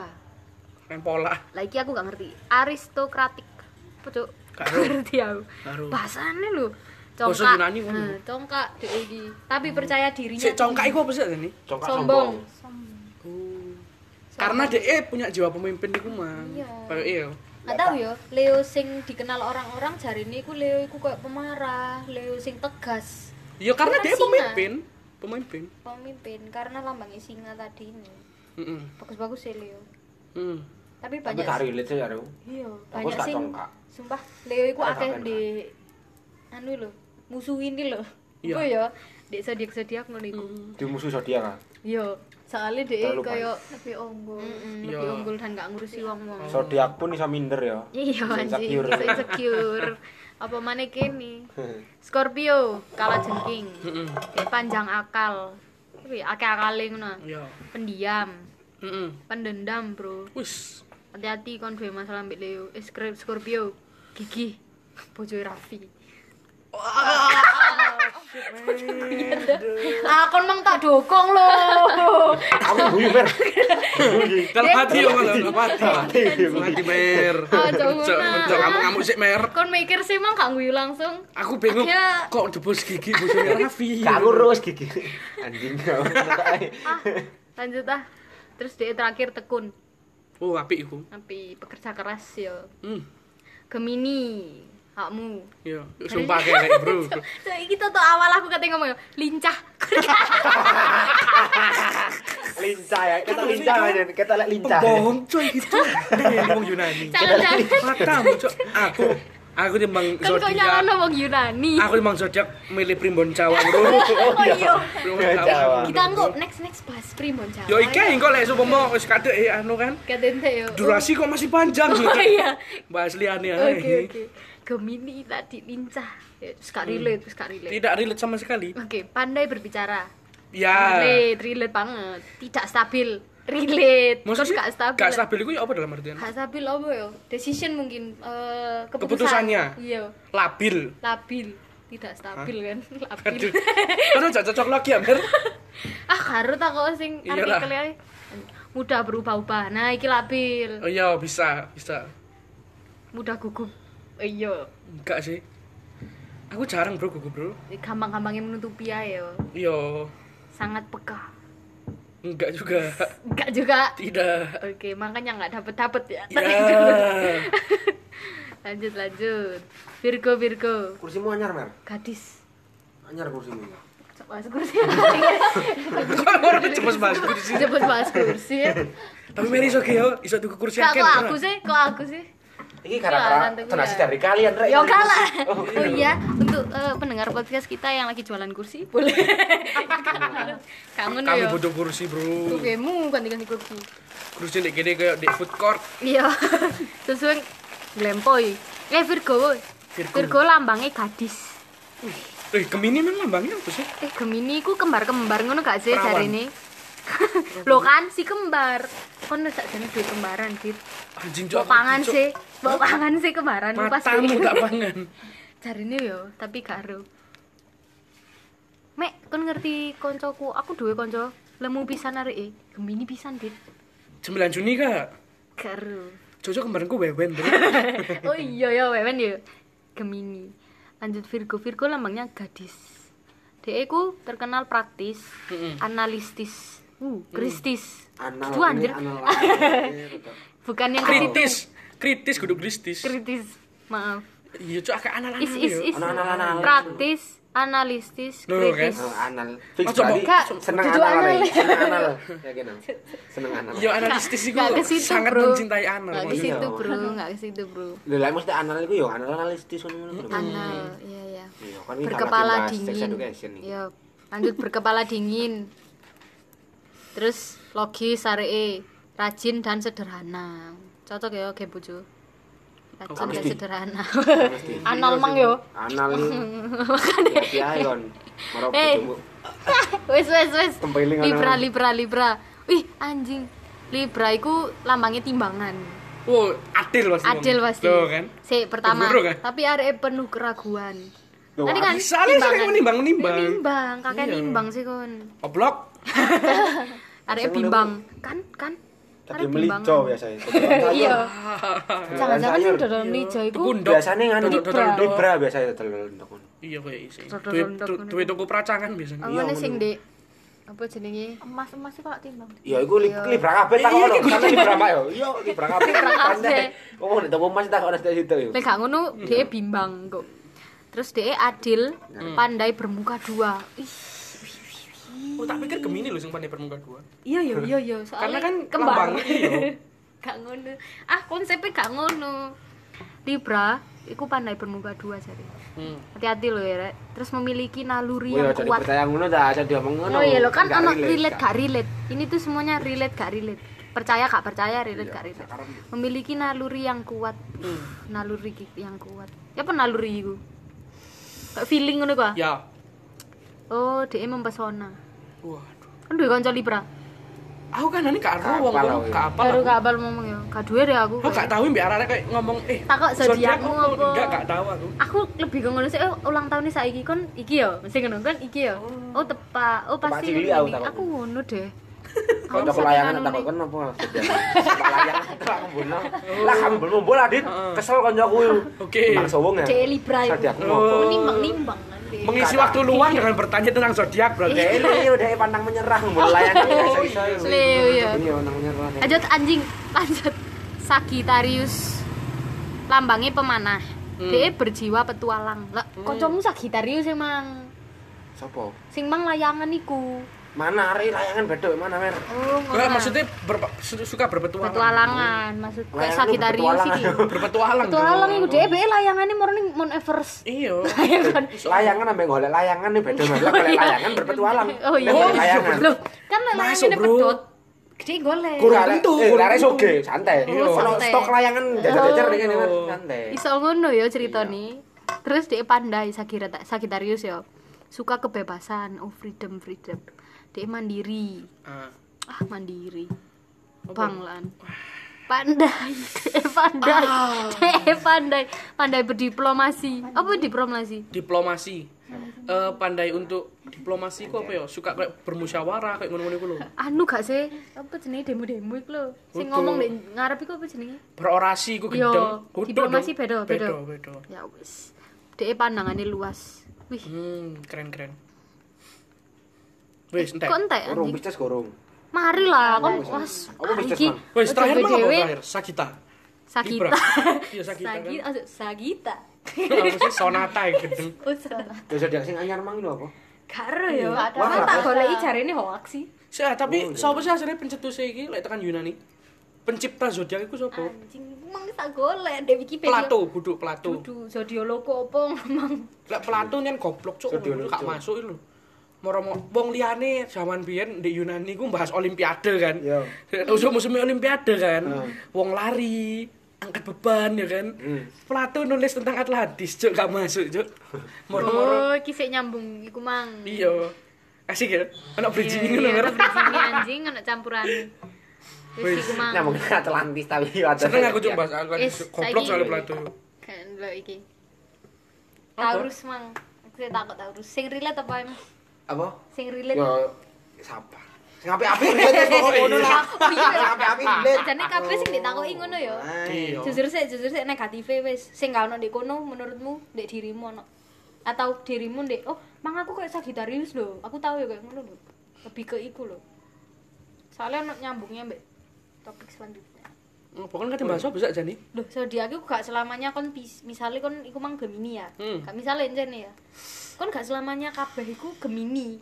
S1: Mempola.
S2: lagi aku gak ngerti aristokratik apa cuk
S1: Gak
S2: gak
S1: ero.
S2: ngerti aku
S1: Gak ero.
S2: bahasanya lu
S1: Bahasa
S2: congkak
S1: Yunani ngono.
S3: gitu.
S4: Nah,
S2: eh, congkak dek iki tapi
S3: Hmm.
S2: percaya dirinya
S1: Sik congkak iku apa sih ini?
S3: Congkak
S2: sombong
S3: sombong.
S1: Karena dia punya jiwa pemimpin iku mang.
S2: Oh. Iya.
S1: Kayak iya.
S4: Nggak tahu ya, Leo sing dikenal orang-orang jarine iku Leo iku kayak pemarah, Leo sing tegas,
S1: Ya karena
S4: Karena
S1: dia
S4: singa.
S1: pemimpin, pemimpin.
S4: pemimpin karena lambangnya singa tadi ini.
S1: Heeh.
S4: Bagus-bagus sih Leo.
S1: Hmm.
S4: Tapi
S3: Tapi
S4: banyak
S3: gak relate sih Hmm. aku.
S4: iya,
S3: Aku
S4: banyak
S3: gak
S4: sing
S3: congkak.
S4: sumpah Leo iku
S3: Gak
S4: akeh
S3: congkak.
S4: di anu lho, musuhin iki lho.
S1: Iya.
S4: Apa ya?
S3: Hmm.
S2: dek zodiak zodiak ngono iku
S3: Di musuh zodiak kan.
S2: Yo, soalnya dhek
S3: Terlalu
S2: koyo
S4: Lebih unggul.
S2: mm,
S1: Iya.
S2: lebih unggul dan gak ngurusi wong-wong.
S3: Hmm. Zodiak pun bisa minder ya.
S2: Iya anjing,
S3: Insecure.
S2: bisa insecure. Apa mana kini? Scorpio, kalah jengking.
S1: Mm-mm.
S2: Dhek panjang akal. Kuwi akeh akale ngono.
S1: Iya.
S2: Pendiam,
S1: Mm-mm.
S2: pendendam, Bro.
S1: Wis.
S2: Hati-hati kon duwe masalah ambek Leo. Eh, Scorp- Scorpio, gigih. Bojoe Raffi.
S4: Ah, kon mang tak dokong lho.
S3: Aku guyu mer.
S1: Kalau hati yo malah kalau hati. Hati mer.
S2: Oh,
S4: Ah, jangan.
S1: kamu kamu sih mer.
S4: Kon mikir sih mang gak nguyu langsung.
S1: Aku bingung
S4: Ada-
S1: kok debus gigi bojone Raffi.
S3: Gak lurus gigi. Anjing kau.
S2: Ah, lanjut ah. Terus dhek terakhir tekun.
S1: Oh, apik iku.
S2: Tapi pekerja keras yo.
S1: Hmm.
S2: Gemini, hakmu.
S1: Iya, sumpah kayak bro.
S2: So, kita tuh awal aku katanya ngomong lincah.
S3: Lincah ya. Kita lincah aja. Kita lihat lincah.
S1: Bohong coy gitu. Dia Ngomong Yunani.
S2: Jangan-jangan
S1: Matamu coy. Aku aku timbang
S2: kan kok nyala
S1: zodiak.
S2: ngomong Yunani.
S1: Aku timbang zodiak milih primbon Jawa bro.
S2: Oh iya.
S1: Primbon
S3: Ya, Jawa.
S4: Kita engko next next bahas primbon Jawa.
S1: Yo iki engko lek supama wis kadek eh, anu kan.
S2: Katente yo.
S1: Durasi kok masih panjang gitu. eh.
S2: Oh iya.
S1: Bahas liane ae.
S2: Oke oke. Gemini tadi lincah. Ya, Terus gak relate, terus gak relate.
S1: Hmm. Tidak relate sama sekali.
S2: Oke, pandai berbicara.
S1: Ya.
S2: Relate, relate banget. Tidak stabil. Relate. Terus
S1: Maksudnya
S2: gak stabil.
S1: Gak stabil itu ya apa dalam artian?
S4: Gak stabil apa ya? Decision mungkin eh, keputusan.
S1: Keputusannya.
S4: Iya,
S1: Labil.
S4: labil. Tidak stabil kan? Labil.
S1: Aduh. Terus gak cocok lagi ya, Mir.
S2: Ah, karo tak kok sing
S1: Iyalah.
S2: artikel ae. Mudah berubah-ubah. Nah, iki labil.
S1: Oh iya, bisa, bisa.
S2: Mudah gugup. Iya.
S1: Enggak sih. Aku jarang bro gugup bro.
S2: Gampang-gampangnya menutupi ae yo.
S1: Iya.
S2: Sangat peka.
S1: Enggak juga.
S2: Enggak juga.
S1: Tidak.
S2: Oke, makanya nggak dapet dapet ya.
S1: Ya.
S2: lanjut lanjut. Virgo Virgo,
S3: Kursimu anyar mer.
S2: gadis.
S3: Anyar kursimu.
S2: Coba bahas kursi. Coba
S1: Kok orang cepet mas kursi.
S2: bahas kursi. ya.
S1: Tapi Mary iso ge yo, iso tuku kursi
S2: Kak,
S1: akeh,
S2: kok
S1: ora?
S2: aku sih? Kok aku sih?
S3: Ini
S2: Jualan
S3: gara-gara
S2: tuh,
S3: donasi
S2: Iya, ya.
S3: dari kalian rek.
S2: Yo kalah. Oh iya, untuk eh, pendengar podcast kita yang lagi jualan kursi boleh. Kangen
S1: Kami
S2: yo.
S1: butuh kursi bro.
S2: Kugemu ganti-ganti kursi.
S1: Kursi dek gede kayak dek food court.
S2: Iya. Sesuai glempoi. Eh Virgo. woy.
S1: Virgo.
S2: Virgo lambangnya gadis.
S1: Eh Gemini memang lambangnya apa sih?
S2: Eh Gemini ku kembar-kembar ngono gak sih
S1: Perawan.
S2: jarine? Lo kan si kembar. Kon wis sak jane duwe kembaran, Dit.
S1: Anjing cok.
S2: Mbok pangan sih. Mbok pangan sih kembaran lu pas
S1: Matamu tak pangan.
S2: jarine yo, tapi gak ero. Mek, kon ngerti koncoku, aku duwe konco lemu pisan areke. Gemini pisan, Dit.
S1: 9 Juni kak.
S2: Gak ero.
S1: Cocok kemarin ku wewen bro.
S2: Oh iya ya, wewen yo. Gemini. Lanjut Virgo. Virgo lambangnya gadis. Dia ku terkenal praktis,
S1: Mm-mm.
S2: analistis, uh, kristis.
S3: Anal.
S2: Itu anjir.
S3: ini Anal. anjir.
S2: Bukan yang ke situ.
S1: Kritis. Kritis kudu kristis.
S2: kritis. Maaf.
S1: Iya cok akeh anak-anak.
S3: ya?
S2: Is is is.
S3: Anal-anal.
S2: Praktis, analistis,
S1: Loh,
S2: kritis.
S3: Oh, Anal. Fix
S1: Oh, coba.
S3: berarti
S2: Kak,
S3: seneng
S2: jujur
S3: anal.
S2: anal.
S3: rek. Seneng anal. Ya gitu. Seneng anal.
S1: Yo analistis iku
S2: Nggak ke situ,
S1: sangat
S2: Bro.
S1: mencintai anak.
S2: Nggak ke
S1: maksudnya.
S2: situ, Bro. Nggak ke situ, Bro.
S3: Lha lek mesti anal iku yo anal analistis ngono ngono.
S1: Hmm.
S2: Anal, iya ya.
S3: Iya, kan ini gak
S2: Berkepala
S3: lagi bahas sex
S2: dingin.
S3: education nih.
S2: Iya. Lanjut berkepala dingin. Terus logis aree, rajin dan sederhana. Cocok ya, ge bojo. Rajin dan
S3: Mesti.
S2: sederhana.
S3: Mesti.
S2: Anal mang yo.
S3: Anal. Hati-hati ae kon. Moro
S2: Eh.
S3: bojomu.
S2: wes wes wes
S3: Tempeling ana.
S2: libra libra libra wih anjing libra iku lambangnya timbangan
S1: Wow, adil pasti.
S2: adil
S1: Bang.
S2: pasti
S1: Loh, kan?
S2: Sik, pertama
S1: Keburu, kan?
S2: tapi arek penuh keraguan
S3: Loh, eh,
S2: tadi kan
S1: Bisa nih sering
S2: timbangan.
S1: menimbang-nimbang.
S2: nimbang kakek
S1: Iya.
S2: nimbang sih kon
S1: Oblok.
S2: arek
S3: Biasanya
S2: bimbang kan kan
S3: Tapi
S2: Arek
S3: melico
S2: timbangan.
S3: biasanya.
S2: iya jangan-jangan
S3: sayur.
S2: sing dodol melijo iku
S1: Tukundok.
S3: Biasanya nganu
S1: Dodol- dodol- dodol.
S3: libra biasanya dodol ndok ngono.
S1: Iya kayak isi.
S2: Dodol-
S1: Duit
S2: dodol-
S1: du-
S2: dodol.
S1: duit toko peracangan biasanya.
S2: Apa
S3: Iya,
S2: nih sing
S3: ngono.
S2: dek apa jenenge
S4: Emas-emas sih kalau timbang.
S3: Ya iku li- libra kabeh tak ono. Sampe libra mbak yo. Iya, libra kabeh.
S2: kabeh.
S3: Oh, nek temu mas tak ono dari situ yo.
S2: Lek gak ngono dia bimbang kok. Terus dia adil, pandai bermuka dua. Ih,
S1: Oh, tak pikir Gemini loh sing pandai permuka dua.
S2: iya iya iya iya
S1: Karena
S2: soalnya
S1: kan
S2: kembar.
S1: lambangnya iya.
S2: gak ngono. Ah konsepnya gak ngono. Libra iku pandai bermuka dua jadi
S1: Hmm.
S2: hati-hati loh ya Rek. terus memiliki naluri
S3: Wih,
S2: yang
S3: aja
S2: kuat
S3: dipercaya ngono dah, aja diomong ngono.
S2: oh iya lo kan
S3: Nggak
S2: anak
S3: relate,
S2: relate
S3: Kak.
S2: gak relate ini tuh semuanya relate gak relate percaya gak percaya relate gak relate memiliki naluri yang kuat naluri ki- yang kuat ya apa naluri itu kayak feeling ngono kok
S1: Ya.
S2: oh dia mempesona
S1: Waduh.
S2: kan duwe kanca Libra
S1: Aku kan ini gak
S3: Gak
S1: ero wong
S3: apal
S1: wong
S3: aku.
S1: gak apal.
S2: baru
S1: aku.
S2: gak abal ngomong ya gak duwe deh aku
S1: Aku gak tahu mbak Arara kayak ngomong eh
S2: Tak kok zodiakmu
S1: apa?
S2: apa?
S1: Enggak gak tahu aku.
S2: aku lebih ke ngono sih oh, ulang tahunnya saiki kon iki ya mesti ngono kan iki ya oh tepak oh
S3: Tepak
S2: pasti
S3: cilik aku
S2: aku,
S3: takut.
S2: aku ngono deh
S3: Kok tak
S2: saking
S3: layangan
S2: anu
S3: tak
S2: nih.
S3: kon apa? Tak layangan tak mbuno. Lah kambul mumbul adit, kesel kanca kuwi.
S1: Oke.
S3: Maksa wong ya.
S4: Dek Libra iku.
S3: Zodiakmu apa?
S4: Menimbang-nimbang
S2: Iya,
S4: nanti.
S1: Mengisi
S3: Gak
S1: waktu luang dengan bertanya tentang zodiak berarti. ya.
S3: Dek ini udah pandang menyerah mbuno layangan gak iso.
S2: Leo, iya.
S3: Ini pandang menyerah. nih.
S2: lanjut anjing lanjut Sagitarius lambangnya pemanah
S1: Hmm.
S2: dia berjiwa petualang lah kancamu Sagitarius emang
S3: Sopo?
S2: sing mang layangan iku
S3: Mana Ari layangan bedok mana mer?
S2: oh ngono
S1: Enggak
S2: lah.
S1: maksudnya ber- su- suka berpetualang.
S2: petualangan maksud kayak
S3: Layangan lu
S2: Sagitarius
S3: berpetualang.
S2: iki
S1: Berpetualang.
S2: petualang
S1: dong.
S2: iku dia be layangannya morning Mount Everest
S1: Iya.
S2: ya kan
S3: Layangan ambek golek layangan nih bedok mer. Lah golek layangan berpetualang.
S2: Oh iya.
S3: Lah, golek
S1: Oh,
S3: layangan.
S2: Loh, kan layangan
S1: Masuk,
S2: ini
S1: Bro.
S2: pedot. Gede golek.
S1: Kurang
S3: Lah,
S1: tentu,
S3: eh,
S1: kurang
S3: lah,
S1: tentu.
S3: soge, santai.
S2: Oh,
S3: Kalau
S2: santai.
S3: stok layangan jajar-jajar nih kan
S1: Oh.
S3: Mer, santai.
S2: Iso ngono
S1: Iya.
S2: ya ceritane. Terus dia pandai Sagirata- Sagittarius ya. Suka kebebasan, oh freedom freedom. Dia mandiri.
S1: Ah.
S2: Ah, mandiri. Banglan. Pandai, dia pandai,
S1: Ah.
S2: dia pandai, pandai berdiplomasi. Apa diplomasi?
S1: diplomasi Eh, pandai untuk diplomasi kok apa ya suka kayak bermusyawarah kayak ngono-ngono iku lho
S2: Anu gak sih? Apa jenenge demo-demo iku lho? Sing
S1: Betul.
S2: ngomong di ngarep iku apa jenenge?
S1: berorasi iku
S2: Iya,
S1: gendeng Kudu
S2: diplomasi
S1: dong.
S2: beda, beda.
S1: beda beda
S2: Ya wis. Dia pandangannya luas. Wih,
S1: hmm keren keren wis entek
S2: kok entek
S3: Gorong
S2: anjing?
S3: bisnis gorong.
S2: Mari lah, kon was.
S3: Apa bisnis, Mang?
S1: wis terakhir mana apa
S2: dhewe
S1: terakhir sakita
S2: sakita.
S1: Libra. iya sakita kan
S4: Sagita, oh, Sagita.
S1: apa sih sonata ya gendeng
S4: Usah.
S3: Terus ada sing anyar mang lho apa?
S4: Karo ya.
S1: Iya.
S3: Wah,
S4: Masa tak goleki jarene hoax sih.
S1: sih ah,
S3: Oh,
S1: tapi sapa sih hasilnya pencetus iki lek tekan Yunani pencipta zodiak iku
S2: Ah,
S1: sapa
S4: Anjing, emang tak golek ndek Wikipedia.
S1: Plato, buduk Plato.
S4: Dudu, zodioloko opo emang.
S1: Lek Plato nyen goblok cuk,
S3: Sedih
S1: ngono gak
S3: lucu.
S1: masuk lho. Moro-moro wong liyane jaman biyen di Yunani ku bahas olimpiade kan.
S3: Iya. Ah.
S1: Usum musim olimpiade kan. Wong lari, angkat beban ya kan.
S3: Hmm.
S1: Plato nulis tentang Atlantis cuk gak masuk cuk. Moro-moro
S2: Oh, iki sik nyambung iku mang.
S1: iya. Asik ya. Ana bridging ngono
S2: Oh. Iya,
S1: kan.
S2: ono bridging-nya anjing, ana campuran. Wis iku
S4: Ah.
S2: mang.
S3: Nyambung ke Atlantis tapi ada.
S1: Seneng aku cuk bahas Atlantis.
S2: Wis,
S1: Cuk. Goblok
S2: saiki-
S1: soalnya Plato.
S2: Kan lho iki.
S1: Apa?
S4: Taurus mang. Aku sih takut Taurus. Sing relate apa emang?
S3: Apa?
S4: Sing relate.
S3: Ya sabar. Sing apik-apik relate kok ngono lah. Sing apik-apik relate.
S4: Jane kabeh sing ditakoki ngono ya.
S1: Iya.
S4: Jujur sih, jujur sih negatifnya wis. Sing gak ono ndek kono menurutmu ndek dirimu ono. Atau dirimu ndek oh, mang aku kayak Sagitarius lho. Aku tahu ya kayak ngono lho. Lebih ke iku lho. Soalnya ono nyambungnya mbek topik selanjutnya.
S1: Bukan kan bahas apa sak jane?
S4: Loh, zodiak iku gak selamanya kon bis- misale kon iku mang Gemini ya.
S1: Hmm.
S4: Gak misale encen ya. Kon gak selamanya kabeh iku Gemini.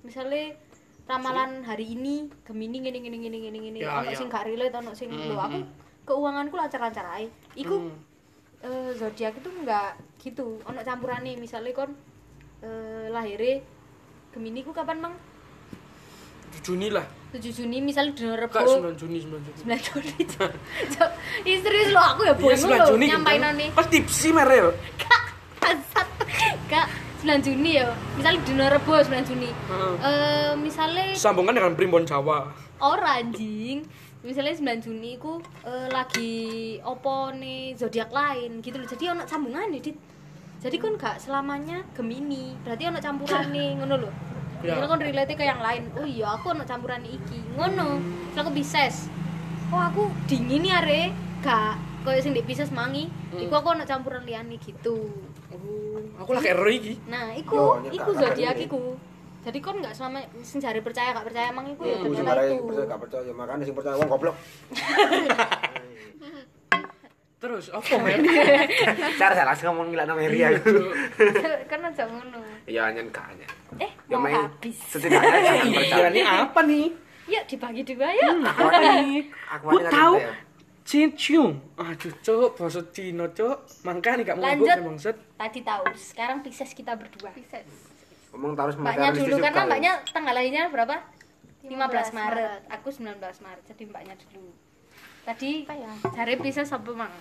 S4: Misale ramalan hari ini Gemini ngene ngene ngene ngene ngene.
S1: Ya,
S4: Ono
S1: ya.
S4: sing gak relate, ono sing
S1: Hmm,
S4: lho aku keuanganku lancar-lancar ae. Iku
S1: Hmm.
S4: eh, zodiak itu enggak gitu. Ono campurane misale kon eh lahire Gemini ku kapan mang?
S1: Juni lah.
S4: 7 Juni misale dino Rebo.
S1: Kak 9 Juni 9 Juni.
S4: 9 Juni. Cok, Ih, serius lo aku ya
S1: Iya,
S4: bingung
S1: 9
S4: lo
S1: Juni.
S4: nyampain
S1: gendeng.
S4: nih.
S1: Pas tipsi merel.
S4: Kak, bangsat. Kak, 9 Juni ya. Misalnya dino Rebo 9 Juni.
S1: Heeh.
S4: Eh, misalnya
S1: Sambungan dengan primbon Jawa.
S4: ora anjing. Misalnya 9 Juni ku eh, lagi opo nih zodiak lain gitu loh. Jadi ono sambungan Dit. Jadi kan gak selamanya Gemini. Berarti ono campuran nih ngono loh.
S1: Ya.
S4: Misalnya kan relate ke yang lain. Oh iya, aku ono campuran iki. Ngono. Misalnya aku Pisces. Oh aku dingin ya re. Gak koyo sing di Pisces mangi. Iku aku ono campuran liyane gitu.
S1: Oh, aku lah kayak Roy iki.
S4: Nah, iku
S3: Yo, nyekak
S4: iku
S3: kabar
S4: zodiak
S3: ini.
S4: iku. Jadi kon nggak selama sing jare percaya gak percaya emang iku ya
S3: Aku Hmm, sing
S4: ternyata
S3: parah
S4: itu.
S3: percaya gak percaya makane sing percaya wong goblok.
S1: Terus apa men?
S3: Cara salah sing ngomong ngilakno Mary aku.
S4: kan aja ngono.
S3: Ya nyen gak nyen.
S4: Eh,
S3: Ya
S4: mau
S3: main
S4: habis.
S3: setidaknya jangan
S1: Iya
S3: percaya.
S1: ini apa nih?
S4: Yuk dibagi dua yuk.
S1: Apa nih?
S3: Aku
S1: Ku
S3: ini kan
S1: tahu
S3: santai ya.
S1: Cincium. Aduh, cuk, bahasa Cina, cuk. Mangka nih gak mabuk
S4: Lanjut.
S1: bangset.
S4: Tadi tahu, sekarang Pisces kita berdua.
S2: Pisces.
S3: Ngomong terus
S4: Mbaknya
S3: materialistis
S4: dulu
S3: juga
S4: karena
S3: ya.
S4: mbaknya tanggal lahirnya berapa? 15 Maret.
S2: 15 Maret.
S4: Aku 19 Maret. Jadi mbaknya dulu. Tadi
S2: Apa ya?
S4: hari Pisces apa, Mang?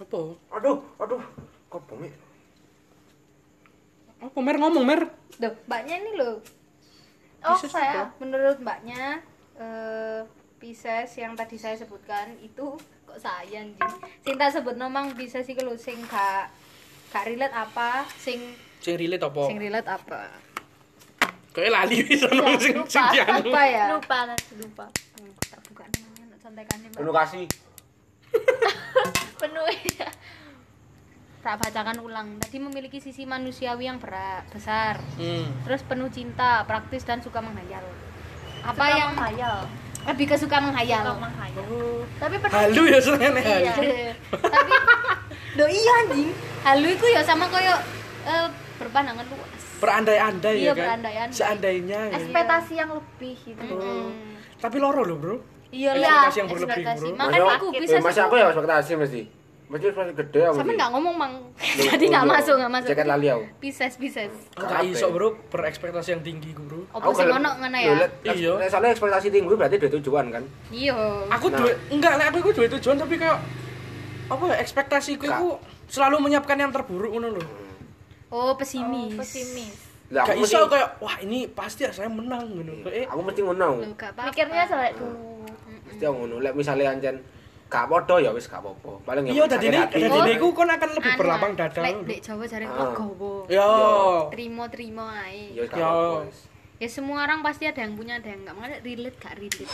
S1: Apa?
S3: Aduh, aduh. Kok bumi?
S1: Apa mer ngomong mer?
S4: Duh, mbaknya ini loh.
S2: Oh,
S1: Pisces
S2: saya.
S4: Menurut mbaknya eh Pisces yang tadi saya sebutkan itu kok saya anjing. Sing tak sebut nomang Pisces iki lho sing gak gak relate apa, sing
S1: Sing relate apa?
S4: sing relate apa?
S1: Kayak lali wis ono sing
S2: lupa.
S1: sing dianu.
S4: Apa
S5: Iya.
S4: ya?
S2: Lupa, lupa.
S4: Hmm, Tak buka namanya, nak contekannya, Mbak.
S3: Penuh kasih.
S2: Penuh ya.
S4: tak bacakan ulang tadi memiliki sisi manusiawi yang berat besar
S1: Hmm.
S4: terus penuh cinta praktis dan suka menghayal apa
S2: Suka
S4: yang
S2: menghayal?
S4: lebih ke suka menghayal
S2: Suka menghayal. Tapi penuh
S1: Halu ya senengane.
S2: Iya.
S1: halu.
S4: tapi do iya anjing halu itu ya sama koyo eh, berpandangan luas
S1: Berandai-andai
S4: Iya,
S1: ya kan.
S4: berandai-andai.
S1: Seandainya ya.
S2: ekspektasi yang lebih gitu.
S1: Oh. Tapi loro loh, Bro.
S4: iya
S1: Ekspektasi yang berlebih, Bro.
S4: makanya
S3: Masuk-
S4: aku
S3: eh,
S4: bisa
S3: masih aku ya ekspektasi mesti. Mesti ekspektasi gede ya
S4: sama
S3: mesti.
S4: nggak ngomong mang
S3: Loh,
S4: jadi nggak
S3: loh,
S4: masuk nggak masuk
S3: Jaket lali aku.
S4: pisces pisces
S1: Enggak iso,
S3: ya?
S1: Bro, berekspektasi yang tinggi, Bro.
S4: opo sing ono ngene ya
S1: Iya.
S3: Iya. Soalnya ekspektasi tinggi berarti dia tujuan kan.
S4: iya
S1: Aku
S3: Nah.
S1: duwe enggak lek aku iku duwe tujuan tapi kayak apa ya ekspektasiku iku selalu menyiapkan yang terburuk ngono lho.
S4: oh pesimis
S2: Pesimis.
S3: Lah
S1: Gak iso
S3: Nah, aku
S1: eh.
S3: mesti Iya,
S1: kayak wah ini pasti saya menang ngono. Kayak
S3: aku mesti ngono.
S4: Loh, gak apa-apa.
S2: Mikirnya sampai dulu.
S3: Mesti aku ngono. Lek misale ancen gak podo ya wis gak apa-apa. Paling ya
S1: Iya,
S3: sakit
S1: dadi ini,
S3: hati.
S1: dadi ini ku kon akan lebih
S4: Anu,
S1: berlapang
S4: Mang.
S1: dada.
S4: Lek
S1: lho.
S4: dek Jawa jarang
S3: Ah.
S4: legowo.
S1: Yo.
S4: Trimo trimo
S3: Ya
S4: ae.
S3: wis gak apa-apa.
S1: Yo.
S3: wis.
S4: Ya semua orang pasti ada yang punya ada yang enggak. Makanya relate gak relate.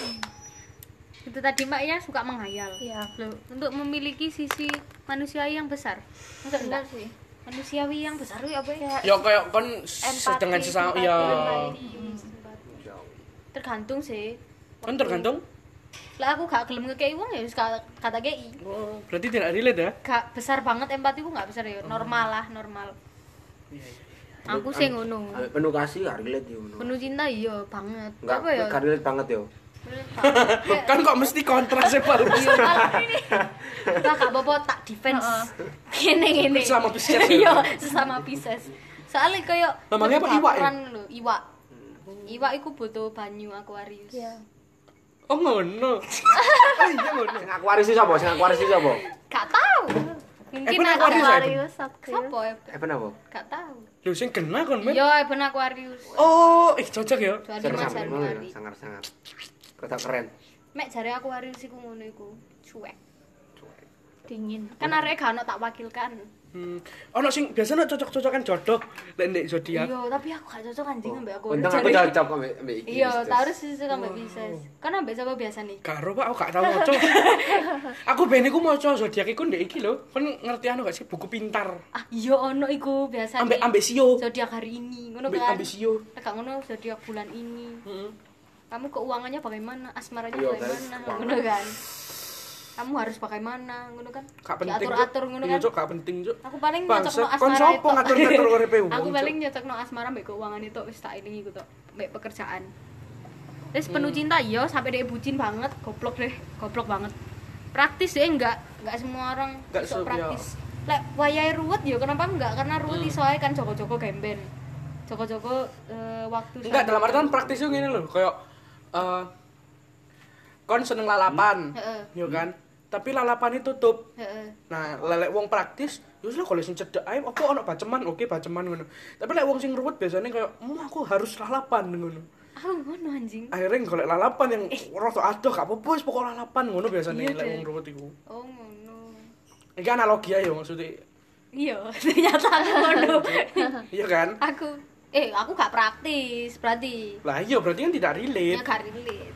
S4: Itu tadi Mbak yang suka menghayal.
S2: Iya.
S4: Loh, untuk memiliki sisi manusiawi yang besar. Enggak
S2: Benar sih.
S4: Manusiawi yang besar itu apa ya?
S1: Ya kayak kon s-
S2: Empati,
S1: dengan sesama
S2: simpati,
S1: ya.
S2: empati.
S3: Ya.
S4: Tergantung sih.
S1: Kan tergantung.
S4: Lah aku gak gelem ngekei wong ya wis ka- kata kei.
S1: Oh, berarti tidak relate ya?
S4: Gak besar banget empatiku gak besar
S1: Oh.
S4: ya. Normal lah, normal. Aku sih ngono.
S3: Ambek Ah, Penuh kasih gak relate ya ngono.
S4: Penuh cinta iya banget.
S3: Enggak
S4: apa ya?
S3: gak relate banget yo.
S1: Loh, kan kok mesti kontras ya Pak?
S4: Lah gak apa-apa tak defense. Ngene ngene.
S1: Sesama Pisces ya?
S4: Iya, sesama Pisces. Soalnya koyo
S1: Namanya apa, iwak ya? Hmm.
S4: peraturan lho, iwak. Iwak iku butuh banyu akuarius.
S2: Iya.
S1: Oh ngono. Oh iya ngono.
S3: Sing aku warisi sapa? Sing aku warisi sapa?
S4: Gak tahu. Mungkin
S1: Eh,
S4: ada
S1: Aquarius ya?
S2: Aquarius, Aquarius.
S4: Sopo ya?
S3: Eh kenapa?
S4: Gak tahu.
S1: Lho sing kena kon men.
S4: Iya, ben Aquarius.
S1: Oh, ih cocok ya.
S4: Jadi
S3: Sangar
S4: mas
S3: sangar ngono
S4: Januari.
S3: ya, sangar sangar. Kata keren.
S4: Mek jare Aquarius iku ngono iku. Cuek.
S3: Cuek.
S2: Dingin.
S4: Kan arek gak ono tak wakilkan.
S1: Hmm. Ono sing biasanya cocok-cocokan jodoh lek ndek zodiak.
S4: Iya, tapi aku gak cocok anjing
S1: Oh.
S4: ambek aku.
S3: Untung aku cocok ambek ambek iki.
S4: Iya,
S3: Pisces.
S4: tak harus sesuai sama Pisces. Kan ambek siapa biasa nih?
S1: Karo Pak, aku gak tau maca. aku ben iku maca zodiak iku ndek iki lho. Kon ngerti anu gak sih buku pintar.
S4: Ah, iya ono iku biasa
S1: Ambek
S4: nih.
S1: ambek sio.
S4: zodiak hari ini ngono
S1: Ambek
S4: kan
S1: ambek Hmm. sio.
S4: Lah, gak ngono zodiak bulan ini
S1: Heeh.
S4: kamu keuangannya bagaimana asmaranya
S3: Iya, guys.
S4: bagaimana ngono kan kamu harus bagaimana ngono kan
S1: Gak penting.
S4: diatur
S1: Cuk.
S4: atur ngono
S1: Iya,
S4: kan
S1: Cuk, gak penting, Cuk.
S4: aku paling nyocok
S1: Bangsa,
S4: no
S1: kon
S4: asmara
S1: sapa
S4: itu
S1: ngatur-ngatur uripe wong.
S4: aku
S1: Cuk?
S4: paling nyocok no asmara mbek keuangan itu wis tak ini iku tok mbek pekerjaan terus penuh
S1: Hmm.
S4: cinta iya sampai dia bucin banget goblok deh goblok banget praktis deh enggak enggak semua orang
S1: Enggak
S4: iso
S1: se-
S4: praktis lek wayahe ruwet ya kenapa enggak karena ruwet
S1: Hmm.
S4: iso ae kan joko-joko gemben joko-joko eh, waktu sama-
S1: Enggak dalam artian praktisnya gini loh, kayak eh kon seneng lalapan,
S4: Heeh.
S1: ya kan? Tapi lalapan itu tutup.
S4: Heeh.
S1: Nah, lelek wong praktis, ya wis lah kalau sing cedek ae apa ono baceman, oke baceman ngono. Tapi lek wong sing ruwet biasanya kayak, "Mu aku harus lalapan" ngono.
S4: aku ngono anjing
S1: Akhirnya golek lalapan yang rada adoh gak apa-apa wis pokok lalapan ngono
S4: Eh.
S1: biasanya
S4: Iya,
S1: lek
S4: deh.
S1: wong ruwet iku.
S4: oh ngono
S1: Iki analogi ae ya maksudnya.
S4: iya ternyata aku ngono
S1: Iya kan?
S4: aku eh aku gak praktis berarti
S1: Lah iya berarti kan tidak
S4: ya
S1: relate.
S4: gak relate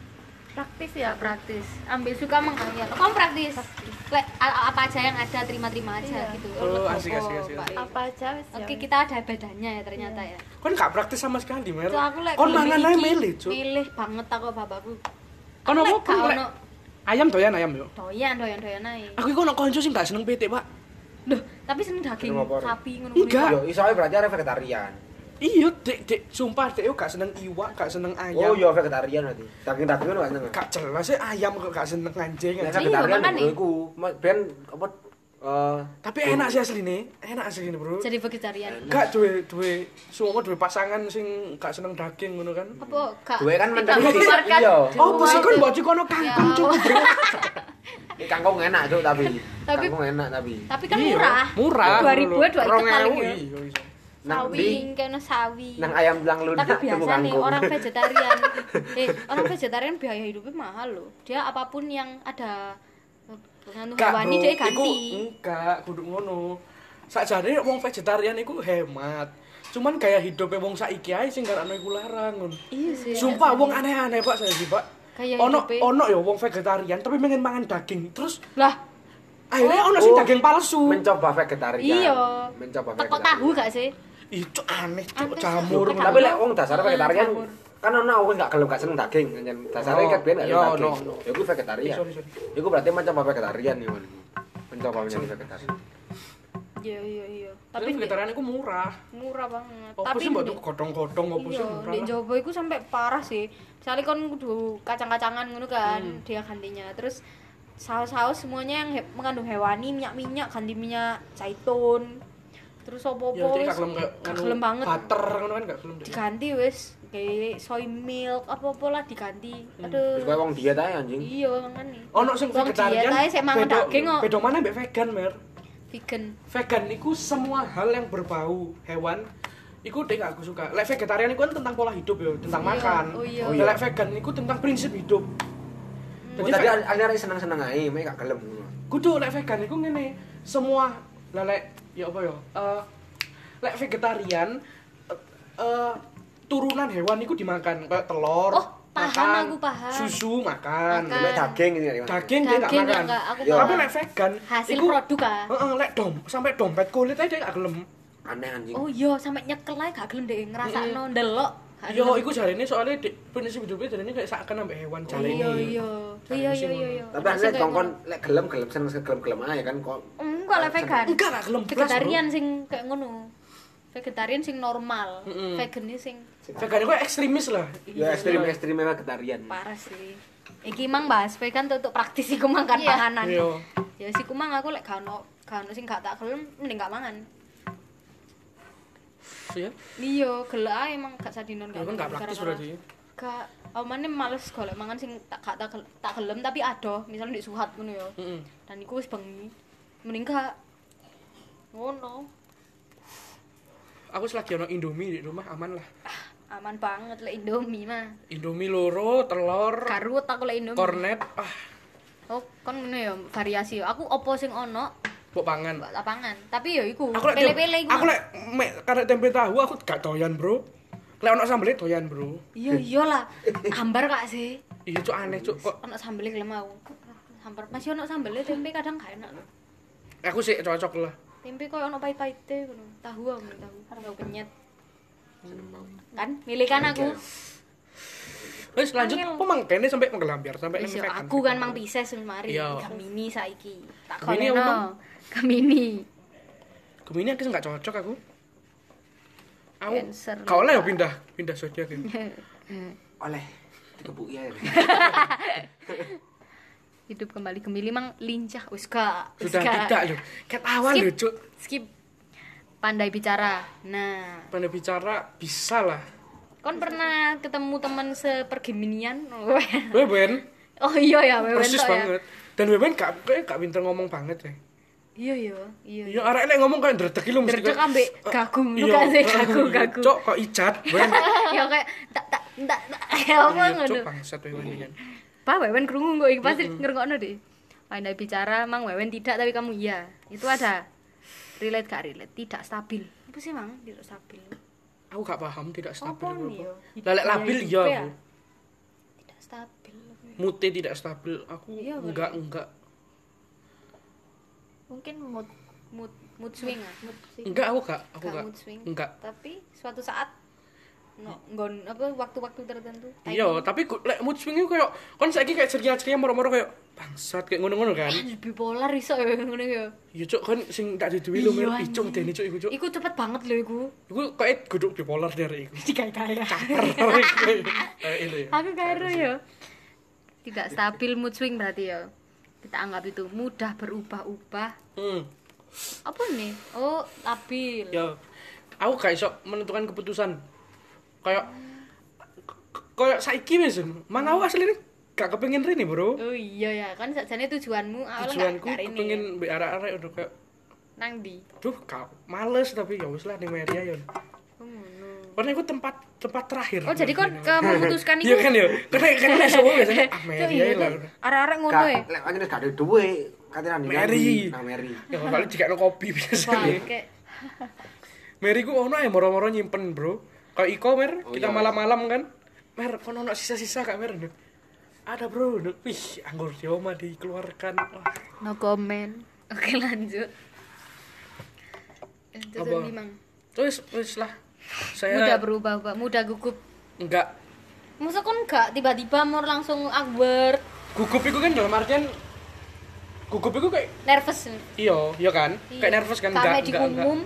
S2: Praktis ya.
S4: praktis ambil suka menghayal kamu praktis Lek, a- apa aja yang ada terima-terima aja
S2: Iya.
S4: gitu
S1: Oh,
S4: Legowo,
S1: asik, asik, asik,
S4: Pak.
S1: asik.
S2: Apa aja Iya. wis ya.
S4: oke kita ada bedanya ya ternyata ya
S1: Kon gak praktis sama sekali, Mer.
S4: itu aku lek
S1: Kon
S4: gelem
S1: mangan ae
S4: iki,
S1: milih, Cuk.
S4: milih banget aku bapakku
S1: Kon
S4: Aku lek
S1: apa
S4: gak
S1: kon lek
S4: ono
S1: ayam doyan ayam yo.
S4: doyan doyan doyan aja
S1: Aku iku ono kanca sing gak seneng pitik, Pak.
S4: Duh, tapi seneng daging
S3: Kenapa, Ri?
S4: sapi ngono
S1: Enggak.
S3: Yo iso ae berarti arek vegetarian.
S1: Iya, Dek, Dek. Sumpah Dek yo gak seneng iwak, gak seneng ayam.
S3: Oh iya vegetarian berarti. Daging-daging kan gak seneng.
S1: Gak jelas sih ayam kok gak seneng anjing.
S3: Nek
S1: anjing.
S3: vegetarian
S4: makanya.
S3: lho iku. Mas, Ben apa eh
S1: Tapi enak sih asline. Enak asline, Bro.
S4: Jadi vegetarian.
S1: Gak duwe duwe semua duwe pasangan sing gak seneng daging ngono kan.
S4: Apa gak?
S3: Duwe kan
S4: tidak
S3: mentality.
S4: mengeluarkan
S3: Iya.
S4: duit.
S1: Oh, pasti kan mbok kono kangkung cuk.
S3: ini kangkung enak tuh tapi.
S4: Tapi-
S3: Kangkung enak tapi.
S4: Tapi kan murah.
S1: iya. Murah.
S4: 2000 ya, 2000 paling ya.
S3: Nang
S4: Sawi,
S3: di
S4: kayaknya sawi.
S3: nang ayam belang lunak
S4: Tapi
S3: tuh
S4: biasa nih
S3: kangkung.
S4: orang vegetarian. eh, orang vegetarian biaya hidupnya mahal loh. Dia apapun yang ada mengandung hewani dia ganti.
S1: enggak, kudu ngono. Sakjane wong vegetarian iku hemat. Cuman gaya hidupnya wong saiki ae sing karane iku larang. ngono.
S4: Iya sih.
S1: Sumpah wong aneh-aneh Pak saya sih, Pak.
S4: Gaya
S1: ono
S4: hidupnya.
S1: ono ya wong vegetarian tapi pengen mangan daging. Terus
S4: Lah,
S1: akhirnya ono sing
S3: Oh.
S1: daging palsu.
S3: mencoba vegetarian.
S4: iya.
S3: Mencoba
S4: Teko tahu kan? gak sih?
S1: Itu aneh,
S4: Aneh,
S1: cuk, jamur.
S4: Pak.
S3: Tapi lek wong dasare
S4: Ah,
S3: vegetarian
S4: jamur.
S3: kan ono wong gak gelem gak seneng daging kan dasare
S1: Oh,
S3: kan ben gak
S1: iya,
S3: seneng daging.
S1: ono, ono.
S3: Ya iku vegetarian.
S1: Sorry, sorry.
S3: Iku berarti mencoba vegetarian nih Wan. Mencoba menjadi vegetarian.
S4: Iya, iya, iya. Tapi
S1: Tapi vegetarian iku murah.
S4: murah banget.
S1: Apa
S4: Tapi
S1: sih mbok
S4: di-
S1: tuku godhong-godhong apa sih
S4: Iya,
S1: murah.
S4: di
S1: lah.
S4: Jawa iku sampai parah sih. Misalnya kon kudu kacang-kacangan ngono kan,
S1: Hmm.
S4: dia gantinya. Terus saus-saus semuanya yang he- mengandung hewani, minyak-minyak ganti minyak zaitun. Terus
S1: Ya
S4: opo-opo wis
S1: dia gak gelem kayak
S4: gak
S1: ngono
S4: gelem banget.
S1: Butter ngono kan gak gelem. dia.
S4: Diganti wis kayak soy milk apa-apa lah diganti.
S1: Hmm,
S3: Terus
S4: Aduh.
S3: koyo wong diet ae anjing.
S4: Iya, makane.
S1: Ono sing
S4: Wong
S1: vegetarian.
S4: diet ae sik mangan
S1: beda-
S4: daging kok.
S1: Beda mana mbek vegan, Mer?
S4: Vegan.
S1: Vegan iku semua hal yang berbau hewan Iku deh gak aku suka. Lek vegetarian iku kan tentang pola hidup ya, tentang
S4: Iya,
S1: makan.
S4: oh iya. Hmm.
S3: Oh iya.
S1: Lek vegan iku tentang prinsip hidup.
S3: Oh,
S1: Jadi
S3: tadi
S1: ve-
S3: ada seneng-seneng ae, mek gak gelem.
S1: kudu lek vegan iku ngene semua lah lek ya apa ya Eh, lek vegetarian eh, eh, turunan hewan iku dimakan kayak telur
S4: Oh, paham
S1: makan,
S4: aku, paham.
S1: susu makan,
S4: Makan.
S3: Mek daging ini ya.
S1: daging dia nggak
S4: Daging ya
S1: makan
S4: nggak, aku
S3: paham.
S1: tapi lek vegan
S4: Hasil
S1: iku-
S4: produk ah.
S1: Heeh, lek dom sampai dompet kulit aja dia nggak gelem
S3: Aneh anjing.
S4: Oh iya, sampai nyekel ae gak gelem dhek ngrasakno ndelok. Gak
S1: Yo,
S4: gelem.
S1: iku jarine soalnya di prinsip hidupnya jarine kayak seakan sampai hewan
S3: Oh.
S1: jarine.
S4: Iya, iya.
S1: Cari
S4: Iya, iya,
S1: sih
S4: iya,
S1: ngono.
S4: iya.
S3: Tapi
S4: Masuk
S3: aneh
S4: kayak
S3: kongkon
S4: ngono.
S3: lek gelem gelem seneng gelem gelem ae kan kok.
S4: Enggak lah vegan.
S1: Enggak lah gelem blas,
S4: Vegetarian Kan sing kayak ngono. Vegetarian sing normal.
S1: Mm-mm.
S4: Vegan ini sing
S1: Bro. Vegan iku ekstremis lah.
S3: Ya ekstrim ekstrim vegetarian.
S4: parah sih. Iki mang bahas vegan tuh untuk praktisi ku mang kan panganan.
S1: Iya.
S4: Ya si ku mang aku lek gak ono gak ono sing gak tak gelem mending gak mangan.
S1: Ya.
S4: Iya, gelek ae emang gak sadinon
S1: Kan gak praktis berarti.
S4: Gak Omane males golek mangan sing tak gak tak gel- tak gelem tapi adoh, misalnya di suhat ngono ya.
S1: Heeh.
S4: Dan iku wis bengi. Mending gak ngono.
S1: Aku selagi ono Indomie di rumah aman lah.
S4: Aman banget lek Indomie mah.
S1: Indomie loro, telur,
S4: Karut aku lek Indomie.
S1: kornet, ah,
S4: Oh, kon ngono ya variasi ya. Aku opo sing ono
S1: mbok pangan.
S4: mbak lapangan. Tapi ya iku
S1: Aku lek tem-
S4: pele-pele iku.
S1: Aku lek mek karek tempe tahu aku gak doyan, Bro. Lek ono sambelé doyan, Bro.
S4: Iya iyalah. Hambar gak sih?
S1: Iya cuk aneh cuk kok
S4: Ono sambelé gelem aku. Hambar masih ono sambelé tempe kadang gak enak loh.
S1: aku sih cocok lah.
S4: Tempe koyo ono pahit-pahite ngono. Tahu aku minum tahu. Tahu penyet. Kan milikan aku.
S1: Wis lanjut
S4: Angel.
S1: pemangkene sampai menggelambiar sampai
S4: Wis
S1: ini
S4: yo,
S1: vegan.
S4: aku kan mang pisces wis mari.
S1: Iya.
S4: Kamini saiki. Tak
S1: Gemini apa, Mang?
S4: kono. Kamini.
S1: Gemini aku gak cocok aku. Aku
S4: Cancer.
S1: kau lah ya pindah pindah zodiak ya.
S3: Oleh dikebuki ae.
S4: Hidup kembali Gemini mang lincah wis gak. wis
S1: Sudah
S4: gak.
S1: tidak loh. Ket awal
S4: Skip.
S1: loh cuk.
S4: skip pandai bicara nah
S1: Pandai bicara bisa lah.
S4: kon pernah ketemu teman sepergeminian
S1: Weben
S4: oh iya ya Wewen
S1: persis
S4: tok ya.
S1: banget. Dan Weben gak kayak gak pinter ngomong banget ya.
S4: iya iya iya
S1: Iya, arek lek ngomong kayak ndredeg iki lho mesti.
S4: Ndredeg
S1: kayak-
S4: ambek
S1: Eh,
S4: gagu,
S1: iya,
S4: bukan sih,
S1: eh,
S4: gagu,
S1: iya.
S4: gagu.
S1: Cok kok ijat, ben.
S4: ya kayak tak tak tak tak ya apa
S1: Iya, Cok
S4: ngono
S1: bangsat kowe ini. kan.
S4: pak Wewen kerungu kok iki pasti ngerungokno deh pandai bicara mang Wewen tidak tapi kamu iya itu ada relate gak relate tidak stabil apa sih mang tidak stabil
S1: Aku gak paham tidak stabil.
S4: apa
S1: apa.
S4: nih yo
S1: Lah lek labil iya
S4: Hidupnya.
S1: aku.
S4: tidak stabil
S1: Mute tidak stabil. Aku
S4: Iya, boleh.
S1: enggak enggak
S2: Mungkin mood
S4: mood mood swing ah
S2: mood sih.
S1: enggak aku gak aku
S4: Gak
S1: gak.
S4: mood swing.
S1: Enggak.
S4: tapi suatu saat no nggon apa waktu-waktu tertentu
S1: Iya, tapi ku- lek mood swing iku koyo kon saiki kayak ceria-ceria moro-moro koyo bangsat kayak ngono-ngono kan.
S4: Eh, bipolar iso ya ngono ya
S1: Iya cuk kon sing tak diduwe lu
S4: Iya,
S1: mirip icung dene cuk iku cuk.
S4: iku cepet banget lho iku
S1: Iku kayak guduk bipolar dari iku.
S4: dikaya-kaya
S1: Eh, itu ya.
S2: Aku karo ya. Tidak stabil mood swing berarti ya. Kita anggap itu mudah berubah-ubah.
S1: Hmm.
S2: Apa nih?
S4: oh labil
S1: Ya. Aku gak iso menentukan keputusan. Kayak kayak saiki wis. Mang aku asline gak kepengin rene, Bro.
S4: oh iya ya kan sajane tujuanmu awalnya
S1: Tujuanku
S4: gak- gak ini.
S1: kepengin mbek arek-arek udah kayak
S4: nang di
S1: duh kau males tapi ya wis lah di media ya. Karena itu tempat tempat terakhir.
S4: oh jadi kon ke memutuskan
S1: Iya
S4: iku
S1: kan ya. Karena karena nek semua biasanya ah
S4: Cuk,
S1: media
S4: iya
S1: ya lah.
S4: kan arek-arek ngono
S3: Gak,
S4: ya
S3: lek kan gak ada duit, katanya nanti
S1: Mary.
S3: Nah, Mary.
S1: Ya paling jika no kopi biasanya.
S4: Bangke.
S1: Mary ku ono ya moro-moro nyimpen, Bro. Kalau Iko Mer,
S3: Oh,
S1: kita
S3: iya.
S1: malam-malam kan. Mer, kono ono sisa-sisa Kak Mer. Nduk. Ada bro, Nduk. wih anggur Yoma dikeluarkan. Wah,
S2: No comment.
S4: oke lanjut Eh, terus
S1: Apa?
S4: endi, Mang?
S1: terus terus lah.
S2: Mudah
S1: Saya
S2: berubah-ubah, mudah gugup.
S1: enggak
S4: Masa kon gak tiba-tiba mau langsung awkward,
S1: gugup itu kan dalam artian gugup itu kayak
S4: nervous.
S1: iyo, iyo kan,
S4: Iya.
S1: kayak nervous kan
S4: Karena
S1: enggak enggak enggak.
S4: diumum,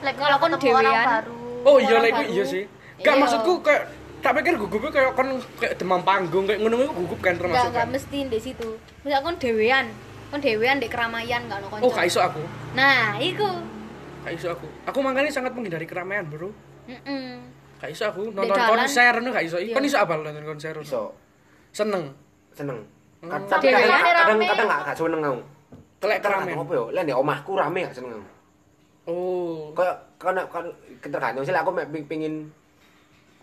S2: Lek
S4: Kalau kon
S2: ketemu orang
S4: dewean.
S2: baru.
S1: Oh iya
S4: orang
S1: lah iku
S4: baru.
S1: iya sih. Gak
S4: Iya.
S1: maksudku kayak tak pikir gugupnya kayak kon kayak demam panggung kayak ngono iku gugup kan
S4: gak
S1: termasuk.
S4: gak
S1: kan?
S4: mesti di situ. Misal kon dewean, kon dewean di keramaian gak ono
S1: Oh,
S4: kanca.
S1: gak iso aku.
S4: Nah, iku.
S1: Gak iso aku. Aku makanya sangat menghindari keramaian, Bro.
S4: Heeh.
S1: Gak iso aku nonton
S4: dalan.
S1: konser ngono gak iso. Kon iso apa nonton konser? ngono?
S3: Iso
S1: Seneng.
S3: seneng.
S1: Hmm.
S3: Kad-
S4: Tapi
S3: Tapi kadang
S4: rame-rame.
S3: kadang kadang gak gak seneng aku.
S1: Kelek
S3: Terang
S1: keramaian.
S3: apa yo? Lek di omahku rame gak seneng aku.
S1: Oh.
S3: Kayak kan kan ketergantung sih lah aku mek- pingin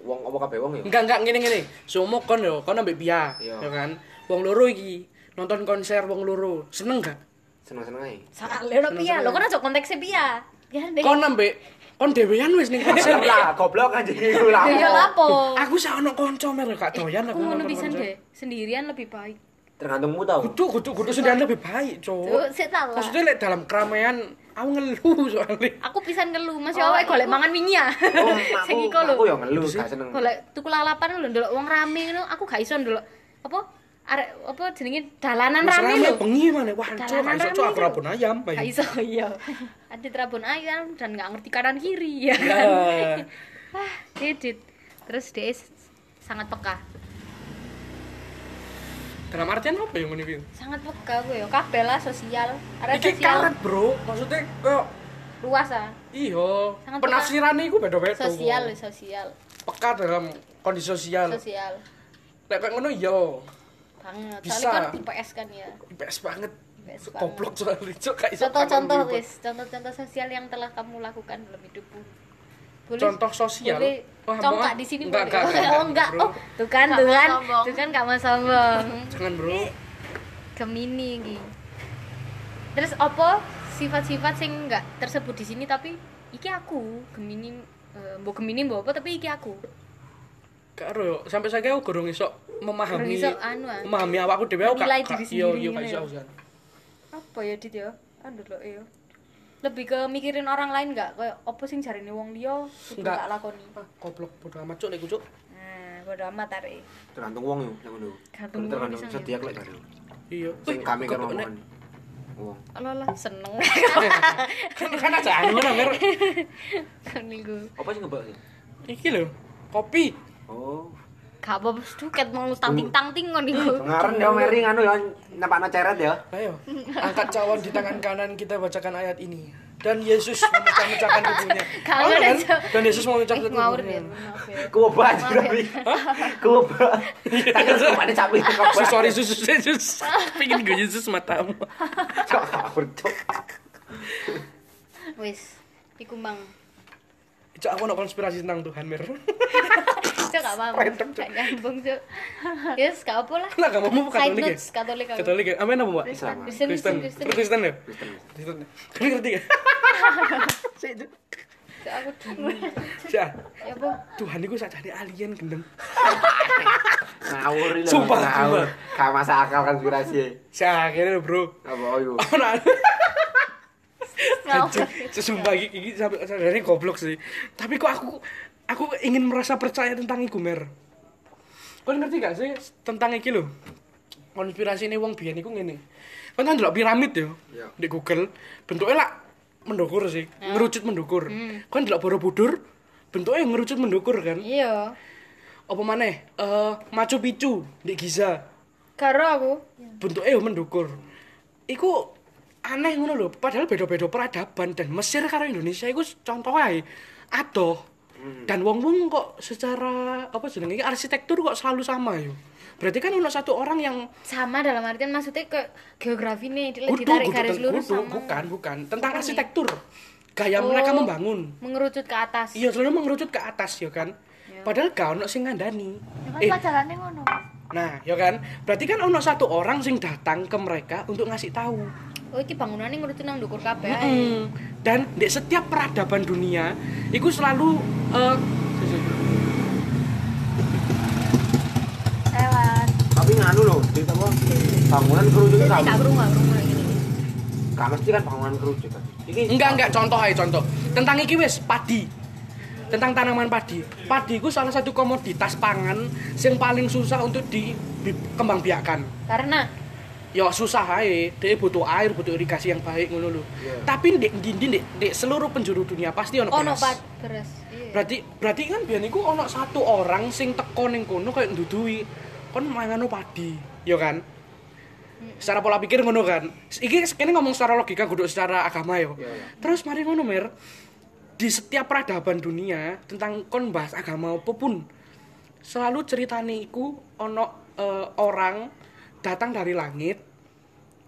S3: wong apa kabeh wong yo.
S1: Enggak enggak ngene-ngene. Somo kon yo, kon ambek Pia,
S3: Iya.
S1: ya kan. Wong loro iki nonton konser wong loro. Seneng gak?
S3: Seneng-seneng ae.
S4: Soale ono piye? Lho kon aja konteksnya piye? Ya deh.
S1: Kon ambek kon dhewean wis ning konser.
S3: Lah goblok anjing iku lah.
S4: Ya lapo?
S1: Aku sak ono kanca mer gak doyan
S4: Eh, Aku
S1: aku
S4: ngono
S1: nonton
S4: pisan
S1: konser.
S4: deh. Sendirian lebih baik.
S3: Tergantungmu tau.
S1: Kudu kudu kudu sendirian lebih baik,
S4: Tuh,
S1: Cok.
S4: sik tak lah.
S1: Maksudnya lek dalam keramaian aku ngeluh soalnya.
S4: Aku pisan ngeluh, Mas
S2: Oh,
S4: awake golek
S2: iku.
S4: mangan minyak.
S3: Oh,
S4: Sing
S3: aku
S4: iku lho.
S3: aku yo ngeluh gak seneng.
S4: golek tuku lalapan lho ndelok wong rame ngono aku gak iso ndelok apa arek apa jenenge dalanan
S1: Mas
S4: rame
S1: rame
S4: lho
S1: bengi mana wah Cok,
S4: Jalanan
S1: gak iso
S4: rame
S1: Cok, aku
S4: itu.
S1: rabun ayam. Bayu.
S4: gak iso iya ada terabon ayam dan gak ngerti kanan kiri ya
S1: Ya.
S4: kan ah edit terus dia s- sangat peka
S1: Dalam artian apa yang ini?
S4: sangat peka gue yo kabeh lah sosial arek
S1: Iki
S4: sosial
S1: karet, Bro. Maksudnya kayak
S4: luas ah
S1: Iya,
S4: Sangat
S1: penafsirannya itu beda-beda.
S4: sosial lho, sosial
S1: Peka dalam kondisi sosial.
S4: sosial
S1: Lek kayak ngono iya.
S4: banget
S1: Bisa.
S4: soalnya kan IPS kan ya
S1: IPS banget.
S4: IPS banget.
S1: Goblok soalnya Cok, gak iso
S4: contoh-contoh
S1: kanan
S4: wis contoh-contoh sosial yang telah kamu lakukan dalam hidupmu
S1: dulu.
S4: Boleh-
S1: Contoh sosial.
S4: boleh
S1: Wah,
S4: congkak
S1: maaf.
S4: di sini
S1: enggak,
S4: boleh?
S1: enggak, enggak,
S4: oh enggak
S1: Bro.
S4: oh tuh kan
S2: Nggak
S4: tuh
S2: mau
S4: kan
S2: sombong.
S4: tuh kan gak mau sombong
S1: Jangan, Bro.
S2: Gemini iki.
S4: terus apa sifat-sifat sing enggak tersebut di sini tapi iki aku gemini eh, mbok gemini mbok apa tapi iki aku
S1: Karo sampai saiki aku gorong iso
S4: Gorong
S1: memahami
S4: iso anu, ah.
S1: memahami awakku dhewe aku
S4: Menilai
S1: gak-
S4: diri
S1: iya,
S4: sendiri
S1: iya, gak
S4: ngono
S1: iso
S4: ya.
S1: aku Zan.
S4: apa ya dit ya aduh lo yo lebih ke mikirin orang lain enggak kayak apa sing jarine wong liya kudu
S1: Nggak.
S4: tak lakoni
S1: Ah, Goblok bodo amat cuk lek iku, Cuk.
S4: nah bodo amat arek
S3: Tergantung wong yo nek ngono.
S4: Tergantung wong
S3: Tergantung
S4: pisan, ya.
S3: setiak lek gak.
S1: Iya.
S3: Sing
S1: Wih,
S3: kami kan
S1: ketok-
S3: omongan. Wong.
S4: Alah seneng
S1: Kan kan aja anu nah, Mer.
S4: kan iku.
S3: Apa sih ngebak sih?
S1: Iki lho, kopi.
S3: Oh.
S4: Gak apa-apa duket mau tangting-tangting kon iku.
S3: Ngaren ya Mary nganu ya napakno ceret ya.
S1: Ayo, angkat cawan di tangan kanan kita bacakan ayat ini. Dan Yesus memecah-mecahkan tubuhnya.
S4: Gak
S1: Oh,
S4: ngerti,
S1: kan?
S4: Cuk.
S1: Dan Yesus memecah-mecahkan
S4: Ngawur ya.
S1: tubuhnya.
S4: maaf ya.
S3: Kuoba aja tapi. Kuoba. Tapi kemana capi itu kuoba.
S1: Sus, sorry, sus, sus, sus. Pingin gue Yesus matamu.
S3: Cok, kabur, cok.
S4: Wis, iku mang.
S1: Cuk, aku nak konspirasi tentang Tuhan, Mir.
S4: Cuk gak apa-apa. Gak nyambung, Cuk. Yes, gak apa lah.
S1: Nah, kamu bukan
S4: Side
S1: Katolik ya?
S4: notes, Katolik aku.
S1: Katolik ya? Amin apa, Mbak?
S4: Kristen,
S3: Islam.
S4: Kristen, Kristen, Kristen.
S1: Kristen ya?
S3: Kristen.
S1: Kristen. Kalian ngerti ya?
S4: Cuk, aku dingin.
S1: Cak,
S4: Ya apa?
S1: Tuhan itu saja alien gendeng.
S3: Ngawur ini.
S1: Sumpah, sumpah.
S3: Gak masuk akal kan konspirasi.
S1: Cak, akhirnya bro.
S3: Apa ayo?
S1: Oh, nah. Anjing, sesumpah iki iki sampe sadarane goblok sih. Tapi kok aku aku ingin merasa percaya tentang iku mer kau ngerti gak sih tentang iki lho konspirasi ini wong biyen iku ngene kau kan ndelok piramid yo
S3: Iya.
S1: di Google bentuknya lah mendukur sih ngerucut mendukur kau ndelok Borobudur bentuknya ngerucut mendukur kan
S4: Iya.
S1: apa maneh Eh, Machu Picchu di Giza
S4: Karo aku.
S1: bentuknya eh, yo mendukur iku aneh ngono lho padahal beda-beda peradaban dan Mesir karo Indonesia iku contohnya adoh dan wong-wong kok secara apa jenenge iki, arsitektur kok selalu sama yo berarti kan ono satu orang yang
S4: Sama dalam artian maksudnya ke geografi nih dile- Iya,
S1: kudu
S4: ditarik
S1: kudu-
S4: garis lurus
S1: kudu,
S4: sama.
S1: bukan bukan tentang arsitektur gaya mereka
S4: Oh.
S1: membangun
S4: Mengerucut ke atas.
S1: iya selalu mengerucut ke atas yo kan
S4: Iya.
S1: padahal gak ono sing ngandani
S5: kan
S1: eh
S5: pelajarannya ngono
S1: nah yo kan berarti kan ono satu orang sing datang ke mereka untuk ngasih tahu
S4: Oh iki bangunannya ngerucut nang dukur kabeh. ae.
S1: Mm. Dan di setiap peradaban dunia, itu selalu eh,
S5: lewat
S3: Tapi nganu loh, di apa? Bangunan kerucut itu
S4: Gak
S3: gak-
S4: perlu gak perlu ini.
S3: gak mesti kan bangunan kerucut kan. Iki
S1: enggak enggak contoh aja contoh. Tentang iki wis padi. Tentang tanaman padi. Padi itu salah satu komoditas pangan yang paling susah untuk dikembangbiakan.
S4: Karena
S1: Ya susah ae, dia butuh air, butuh irigasi yang baik ngono lho.
S3: Iya.
S1: Tapi ndek ndi ndek ndek seluruh penjuru dunia pasti ono
S4: ono
S1: beras.
S4: pad beras. Iya.
S1: berarti berarti kan biar niku ono satu orang sing teko ning kono kayak ndudui kon mangano padi ya kan secara pola pikir ngono kan iki kene ngomong secara logika kudu secara agama yo
S3: Iya, iya.
S1: terus mari ngono mer di setiap peradaban dunia tentang kon bahas agama apapun selalu ceritane iku ono eh, orang datang dari langit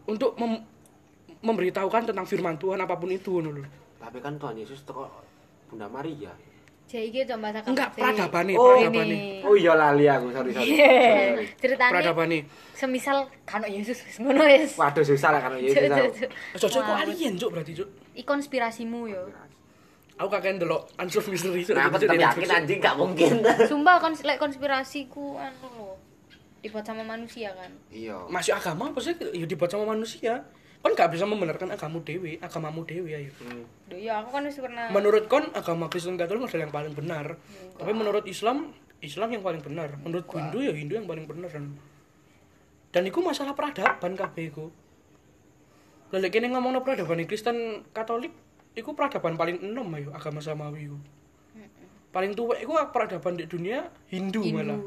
S1: untuk mem- memberitahukan tentang firman Tuhan apapun itu ngono lho
S3: Tapi kan Tuhan Yesus teko Bunda Maria.
S4: Jadi iki coba tak
S1: enggak peradabane
S3: Oh,
S1: peradabane
S3: Oh iya lali aku, sorry sorry. Sorry, sorry.
S4: Ceritanya
S1: peradabane
S4: semisal kano Yesus wis ngono wis.
S3: Waduh susah lah kalau Yesus.
S4: Cuk, cuk,
S3: aku.
S4: cuk.
S1: Cocok kok alien cuk berarti cuk.
S4: Iki konspirasimu yo.
S1: Aku kakek ndelok Unsolved Mystery cuk.
S3: Nah, aku
S1: Cuk,
S3: tetap
S1: di
S3: yakin
S1: Netflix, cuk.
S3: anjing gak mungkin.
S4: Sumpah kons lek konspirasiku anu lho. Dibuat sama manusia kan.
S3: Iya.
S1: Masih agama apa sih? Ya dibuat sama manusia. Kon gak bisa membenarkan agamamu dewi, agamamu dewi ayo.
S4: Duh, ya aku kan wis pernah
S1: Menurut kon agama Kristen Katolik adalah yang paling benar. Tapi menurut Islam, Islam yang paling benar. Menurut Hindu ya Hindu yang paling benar. Dan itu masalah peradaban kabeh iku. Lelek kene ngomongno peradaban Kristen Katolik, iku peradaban paling enom ayo agama samawi iku. Paling tua iku peradaban di dunia Hindu,
S4: Hindu.
S1: malah.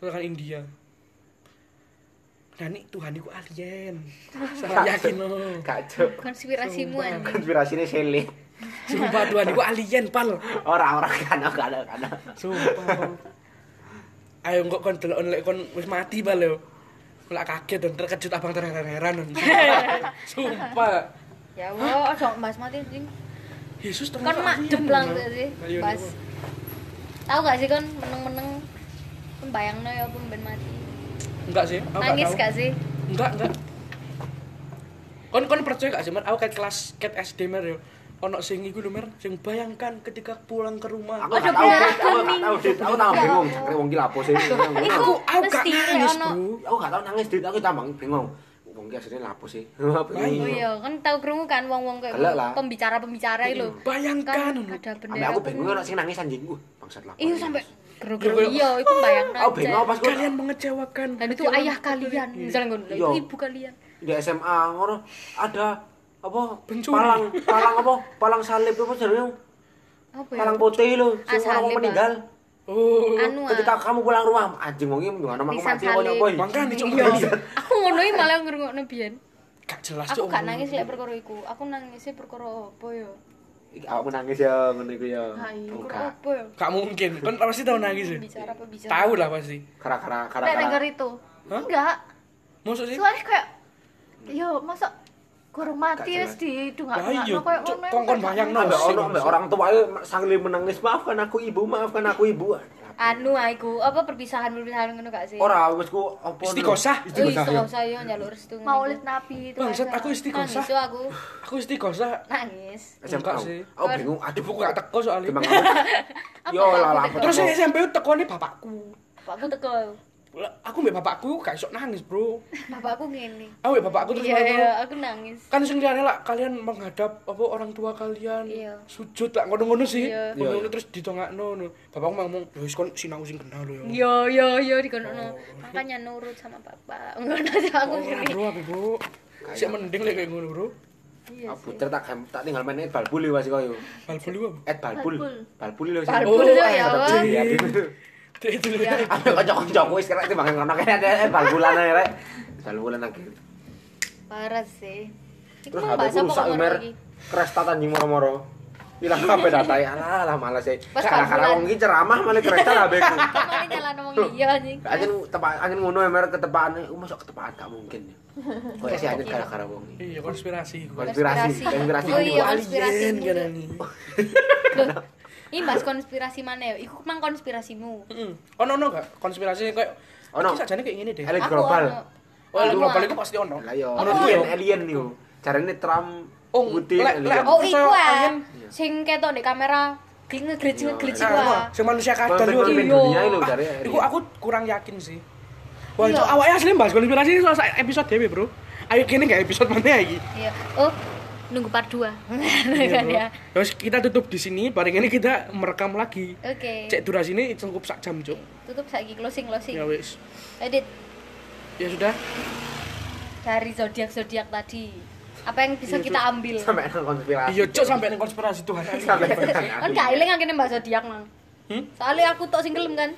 S1: Sedangkan India. Dan ini Tuhan iku alien. Saya yakin oh. no.
S3: Gak cuk.
S4: konspirasimu anjing.
S3: Konspirasi ini selit.
S1: Sumpah Tuhan iku alien, pal.
S3: Orang-orang kana kana kana.
S1: Sumpah. Ayo kok kon delok lek kon wis mati bal yo. Lek kaget dan terkejut abang terheran-heran. Sumpah.
S4: Ya Allah, ojo mas mati anjing.
S1: Yesus
S4: Kan
S1: ternyata
S4: mak
S1: alien,
S4: jemplang
S1: Bang.
S4: tuh sih.
S1: Ayo,
S4: Pas.
S1: ayo.
S4: Tahu gak sih kan meneng-meneng pembayangno ya pemben mati.
S1: Enggak sih, aku
S4: Nangis
S1: gak
S4: gak sih?
S1: tahu. Enggak, enggak. Kon kon percaya gak sih, Mer? Aku kat kelas kat SD mer yo. Ono sing iku lho, Mer, sing bayangkan ketika pulang ke rumah.
S3: Aku gak tahu, Dit. aku gak tahu, Dit. aku tambah bingung. Kira wong iki lapo sih?
S1: aku, aku gak
S4: mesti kayak
S1: nangis,
S4: ono-
S1: Bro.
S3: Aku gak tahu nangis, Dit. Aku tambah bingung. Wong iki asline lapo sih?
S4: Oh iya, kan tahu krungu kan wong-wong kayak
S3: Gelek lah.
S4: pembicara-pembicara itu lho.
S1: Bayangkan.
S4: Kan ada
S3: Ambe
S4: bendera.
S3: aku bingung ono sing nangis anjing ku. Bangsat lapo.
S4: Iya
S3: sih.
S4: sampai gerogro iya, Ah. itu bayangno.
S3: Aku bingung
S4: aja.
S3: pas gua
S1: Kalian mengecewakan.
S4: Dan itu ayah kalian, misalnya ngono, lah,
S3: Iya.
S4: itu ibu kalian.
S3: di SMA ngono ada apa
S1: Pencuri.
S3: palang palang apa palang salib apa jenenge
S4: Apa ya?
S3: palang putih lo
S4: Ah,
S3: sing orang
S4: salib,
S3: mau meninggal
S1: Oh.
S4: Anu. ah.
S3: ketika kamu pulang rumah anjing wong iki ngono aku
S4: Lisan
S3: mati ngono
S4: salib.
S3: apa iki?
S1: Makanya
S4: Iya.
S1: cuma
S4: Aku ngono iki malah ngrungokno biyen.
S1: gak jelas
S4: Aku
S1: Cuk,
S4: gak
S1: ngomong.
S4: nangis lek perkara iku. Aku nangisnya perkara apa ya?
S3: Iki awakmu nangis ya ngono iku ya
S4: Ha iya, perkara
S3: enggak
S4: apa ya?
S1: Gak mungkin. Kan pasti tahu nangis ya.
S4: Bicara apa bicara?
S1: Tahu lah pasti.
S3: kara kara kara
S5: lek
S3: kara
S5: denger itu
S1: Hah? Eh.
S5: enggak
S1: Maksud sih?
S5: soalnya kayak yo masa kurung mati
S3: Gak
S5: wis di dungak
S1: Lah iya,
S5: kayak
S1: Cuk,
S5: ngono
S1: kongkon bayangno.
S3: Ambek
S1: Sing,
S3: ono ambek
S1: sing.
S3: orang tua ae sambil menangis maafkan aku ibu maafkan aku ibu
S4: Anu ah, iku, apa perpisahan-perpisahan ngono gak sih?
S3: ora wis ku apa
S1: Istiqosah.
S4: Wih,
S3: istiqosah
S4: saya njaluk restu ngono.
S5: maulid nabi itu
S1: Bangsat
S5: aja.
S1: aku
S4: Nangis
S1: istiqosah.
S4: tuh aku.
S1: Aku istiqosah.
S4: Nangis.
S3: SMA
S1: Enggak
S3: aku.
S1: sih.
S3: aku Oh, bingung aduh
S1: Ibu gak teko soalnya.
S3: Emang aku- Yo lah lah.
S4: Iya
S1: ya? Terus yang SMP tekone bapakku.
S4: Bapakku teko.
S1: Lah, aku mbek bapakku gak iso nangis, Bro.
S4: bapakku ngene
S1: Aku mbek bapakku terus
S4: iya
S1: ngono.
S4: iya aku nangis
S1: Kan sing liyane lah kalian menghadap apa orang tua kalian
S4: Iya.
S1: sujud tak ngono-ngono sih.
S4: Iya.
S1: Ngono-ngono terus ditongakno. ngono. Bapakku malah ngomong, "Wis kon sinau sing kenal lo ya."
S4: yo yo yo dikono Oh. makanya nurut sama bapak ngono aja aku
S1: Ora,
S4: ngene
S1: Bro, aku, Bro. Sik mending lek kayak ngono, Bro.
S3: Puter tak gam- tak tinggal main et balbul wis koyo.
S1: Bal bulu apa?
S3: Et balbul. Balbul Eh, lho.
S4: Balbul
S1: Oh,
S4: yo ya
S1: ada
S4: Allah.
S1: Iya. Dek dulu.
S3: Ada kanca-kancaku gitu. wis kerek timbang ngono kan, kene et balbulan ae rek. Balbulan lagi.
S4: parah sih Iku
S3: Terus
S4: mau
S3: HP
S4: bahas
S3: ku
S4: apa
S3: rusak
S4: kok
S3: Umer.
S4: kan lagi?
S3: Krestat anjing moro-moro. Hilang HP data ya. Alah, alah males e.
S4: Pas
S3: Kala-kala
S4: balbulan.
S3: wong iki ceramah malah krestat HP ku.
S4: Kemarin nyalain wong iya anjing.
S3: Angin tepak angin ngono emer ketepaan, uh, masuk ketepaan gak mungkin. Kayak sih angin gara-gara wong iki.
S1: Iya, konspirasi.
S3: Konspirasi, konspirasi.
S4: Oh iya,
S3: kumpul.
S4: konspirasi.
S1: Alien
S4: mulu.
S1: kan ini.
S4: Loh, Ini bahas konspirasi mana ya? Iku mang konspirasimu.
S1: Heeh. Ono ono gak konspirasi kayak Iki
S3: Ono.
S1: sajane kayak ngene deh.
S3: Elit
S4: Aku
S3: global.
S4: ono.
S1: Oh,
S4: Aku
S1: global
S4: ono.
S1: itu pasti ono.
S3: Lah yo,
S1: Menurutku yo.
S3: alien alien yo. Carane Trump
S1: Oh,
S3: Putin
S1: lek- lek
S3: alien.
S1: aku-
S4: Oh iku ah,
S1: Alien.
S4: sing ketok di kamera di ngegreci ngegreci
S1: Ah, ono.
S4: ah.
S1: Sing manusia kadal
S3: Pemimpin-
S1: yo.
S3: pemimpin
S1: Iya.
S3: dunia lho,
S1: Ah,
S3: jare
S1: Iku
S3: alien.
S1: aku kurang yakin sih. Wah, itu
S4: Iya.
S1: awalnya asli bahas konspirasi soal sa- episode dewe, Bro. Ayo kene gak episode mana iki?
S4: Iya. Oh,
S2: nunggu part 2
S1: Iya,
S4: kan ya.
S1: Terus kita tutup di sini, bareng ini kita merekam lagi.
S4: Oke.
S1: Cek durasi ini cukup sak jam, Cuk.
S4: Tutup saiki closing closing. Eh,
S1: Ya wis.
S4: Edit
S1: Ya sudah.
S4: dari zodiak-zodiak tadi. Apa yang bisa kita ambil?
S3: sampai nang konspirasi.
S1: Iya, Cuk sampai nang konspirasi Tuhan.
S3: sampai nang
S4: Kan gak eling akhirnya mbak zodiak mang.
S1: Hmm?
S4: Soalnya aku tok sing gelem kan.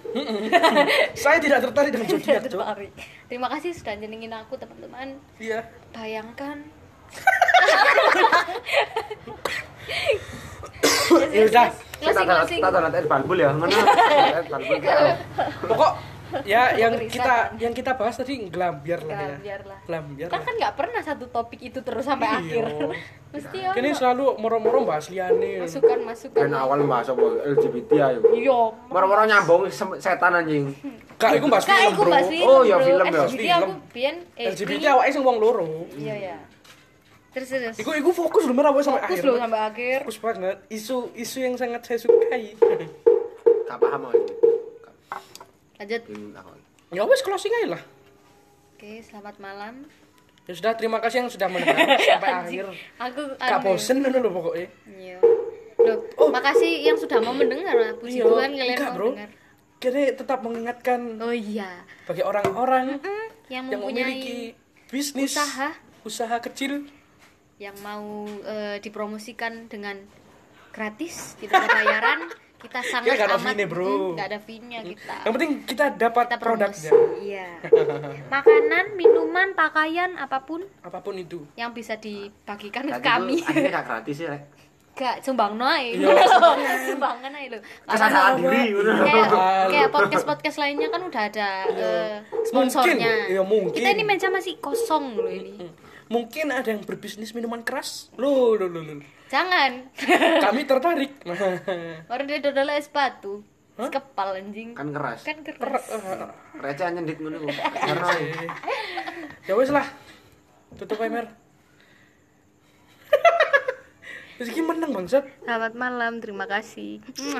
S1: Saya tidak tertarik dengan
S4: Iya,
S1: zodiak, Cuk.
S4: Tertarik. Terima kasih sudah jenengin aku teman-teman.
S1: Iya.
S4: Bayangkan Iya,
S1: Ya udah.
S3: Kita
S4: Closing,
S3: tak
S4: closing.
S3: tak tak et balbul ya, ngono. Et balbul.
S1: pokok ya yang
S4: Riset.
S1: kita yang kita bahas tadi ngelambiar lah ya
S4: Ngelambiar lah.
S1: ngelambiar
S4: kan
S1: lah
S4: kan nggak pernah satu topik itu terus sampai
S1: Iya.
S4: akhir mesti ya
S1: kini selalu moro-moro bahas liane
S4: masukan masukan
S3: Ben awal bahas apa LGBT ayo.
S4: yo
S3: ya, Moro-moro nyambung sem- setan anjing.
S1: kak iku bahas
S4: kak
S1: film
S4: aku
S1: bro
S4: bahas film
S3: Oh, ya, film ya.
S4: LGBT aku
S1: Film.
S4: bian eh
S1: LGBT
S4: ini-
S1: awake sing wong loro
S4: iya ya terus terus
S1: iku iku fokus lho merah awake sampai
S4: fokus
S1: akhir
S4: loh sampai akhir
S1: fokus banget isu isu yang sangat saya sukai
S3: Gak paham aku.
S4: lanjut
S3: Bingung aku.
S1: ya wes closing aja lah
S4: oke selamat malam
S1: ya sudah terima kasih yang sudah mendengar sampai akhir
S4: aku
S1: kak
S4: anu-
S1: bosen ngono lho pokoknya
S4: iya Loh, makasih yang sudah mau mendengar lah puji
S1: Oh. Iya,
S4: Tuhan kalian
S1: enggak,
S4: mau
S1: bro.
S4: mendengar
S1: kini tetap mengingatkan
S4: oh iya
S1: bagi orang-orang
S4: Hmm, yang
S1: yang
S4: mempunyai
S1: memiliki bisnis
S4: usaha.
S1: usaha kecil
S4: yang mau eh, dipromosikan dengan gratis tidak ada bayaran kita sangat
S1: Ya, nggak ada
S4: amat
S1: fee-nya, bro.
S4: Hmm, nggak ada fee-nya kita
S1: yang penting kita dapat
S4: kita promosi
S1: produknya
S4: iya makanan minuman pakaian apapun
S1: apapun itu
S4: yang bisa dibagikan ke
S3: Tadi
S4: kami
S3: tuh akhirnya gak gratis ya, rek.
S4: gak sumbang ae
S1: Iya,
S4: sumbangan ae lho
S3: Kesadaran diri ngono.
S4: kayak
S1: Mahal.
S4: kayak podcast podcast lainnya kan udah ada
S1: Iya.
S4: eh, sponsornya
S1: Mungkin, iya, mungkin. Hmm.
S4: kita ini meja masih kosong loh ini
S1: mungkin ada yang berbisnis minuman keras lo lo lo lo
S4: jangan
S1: kami tertarik Nah,
S4: orang dia dodol es batu Es kepal anjing
S3: Kan keras.
S4: kan Iya. keras
S1: eh,
S3: Receh nyendit ngono. Bu. Karena
S1: ya wes lah tutup aja, mer Terus ini menang bangsat
S4: Selamat malam, terima kasih.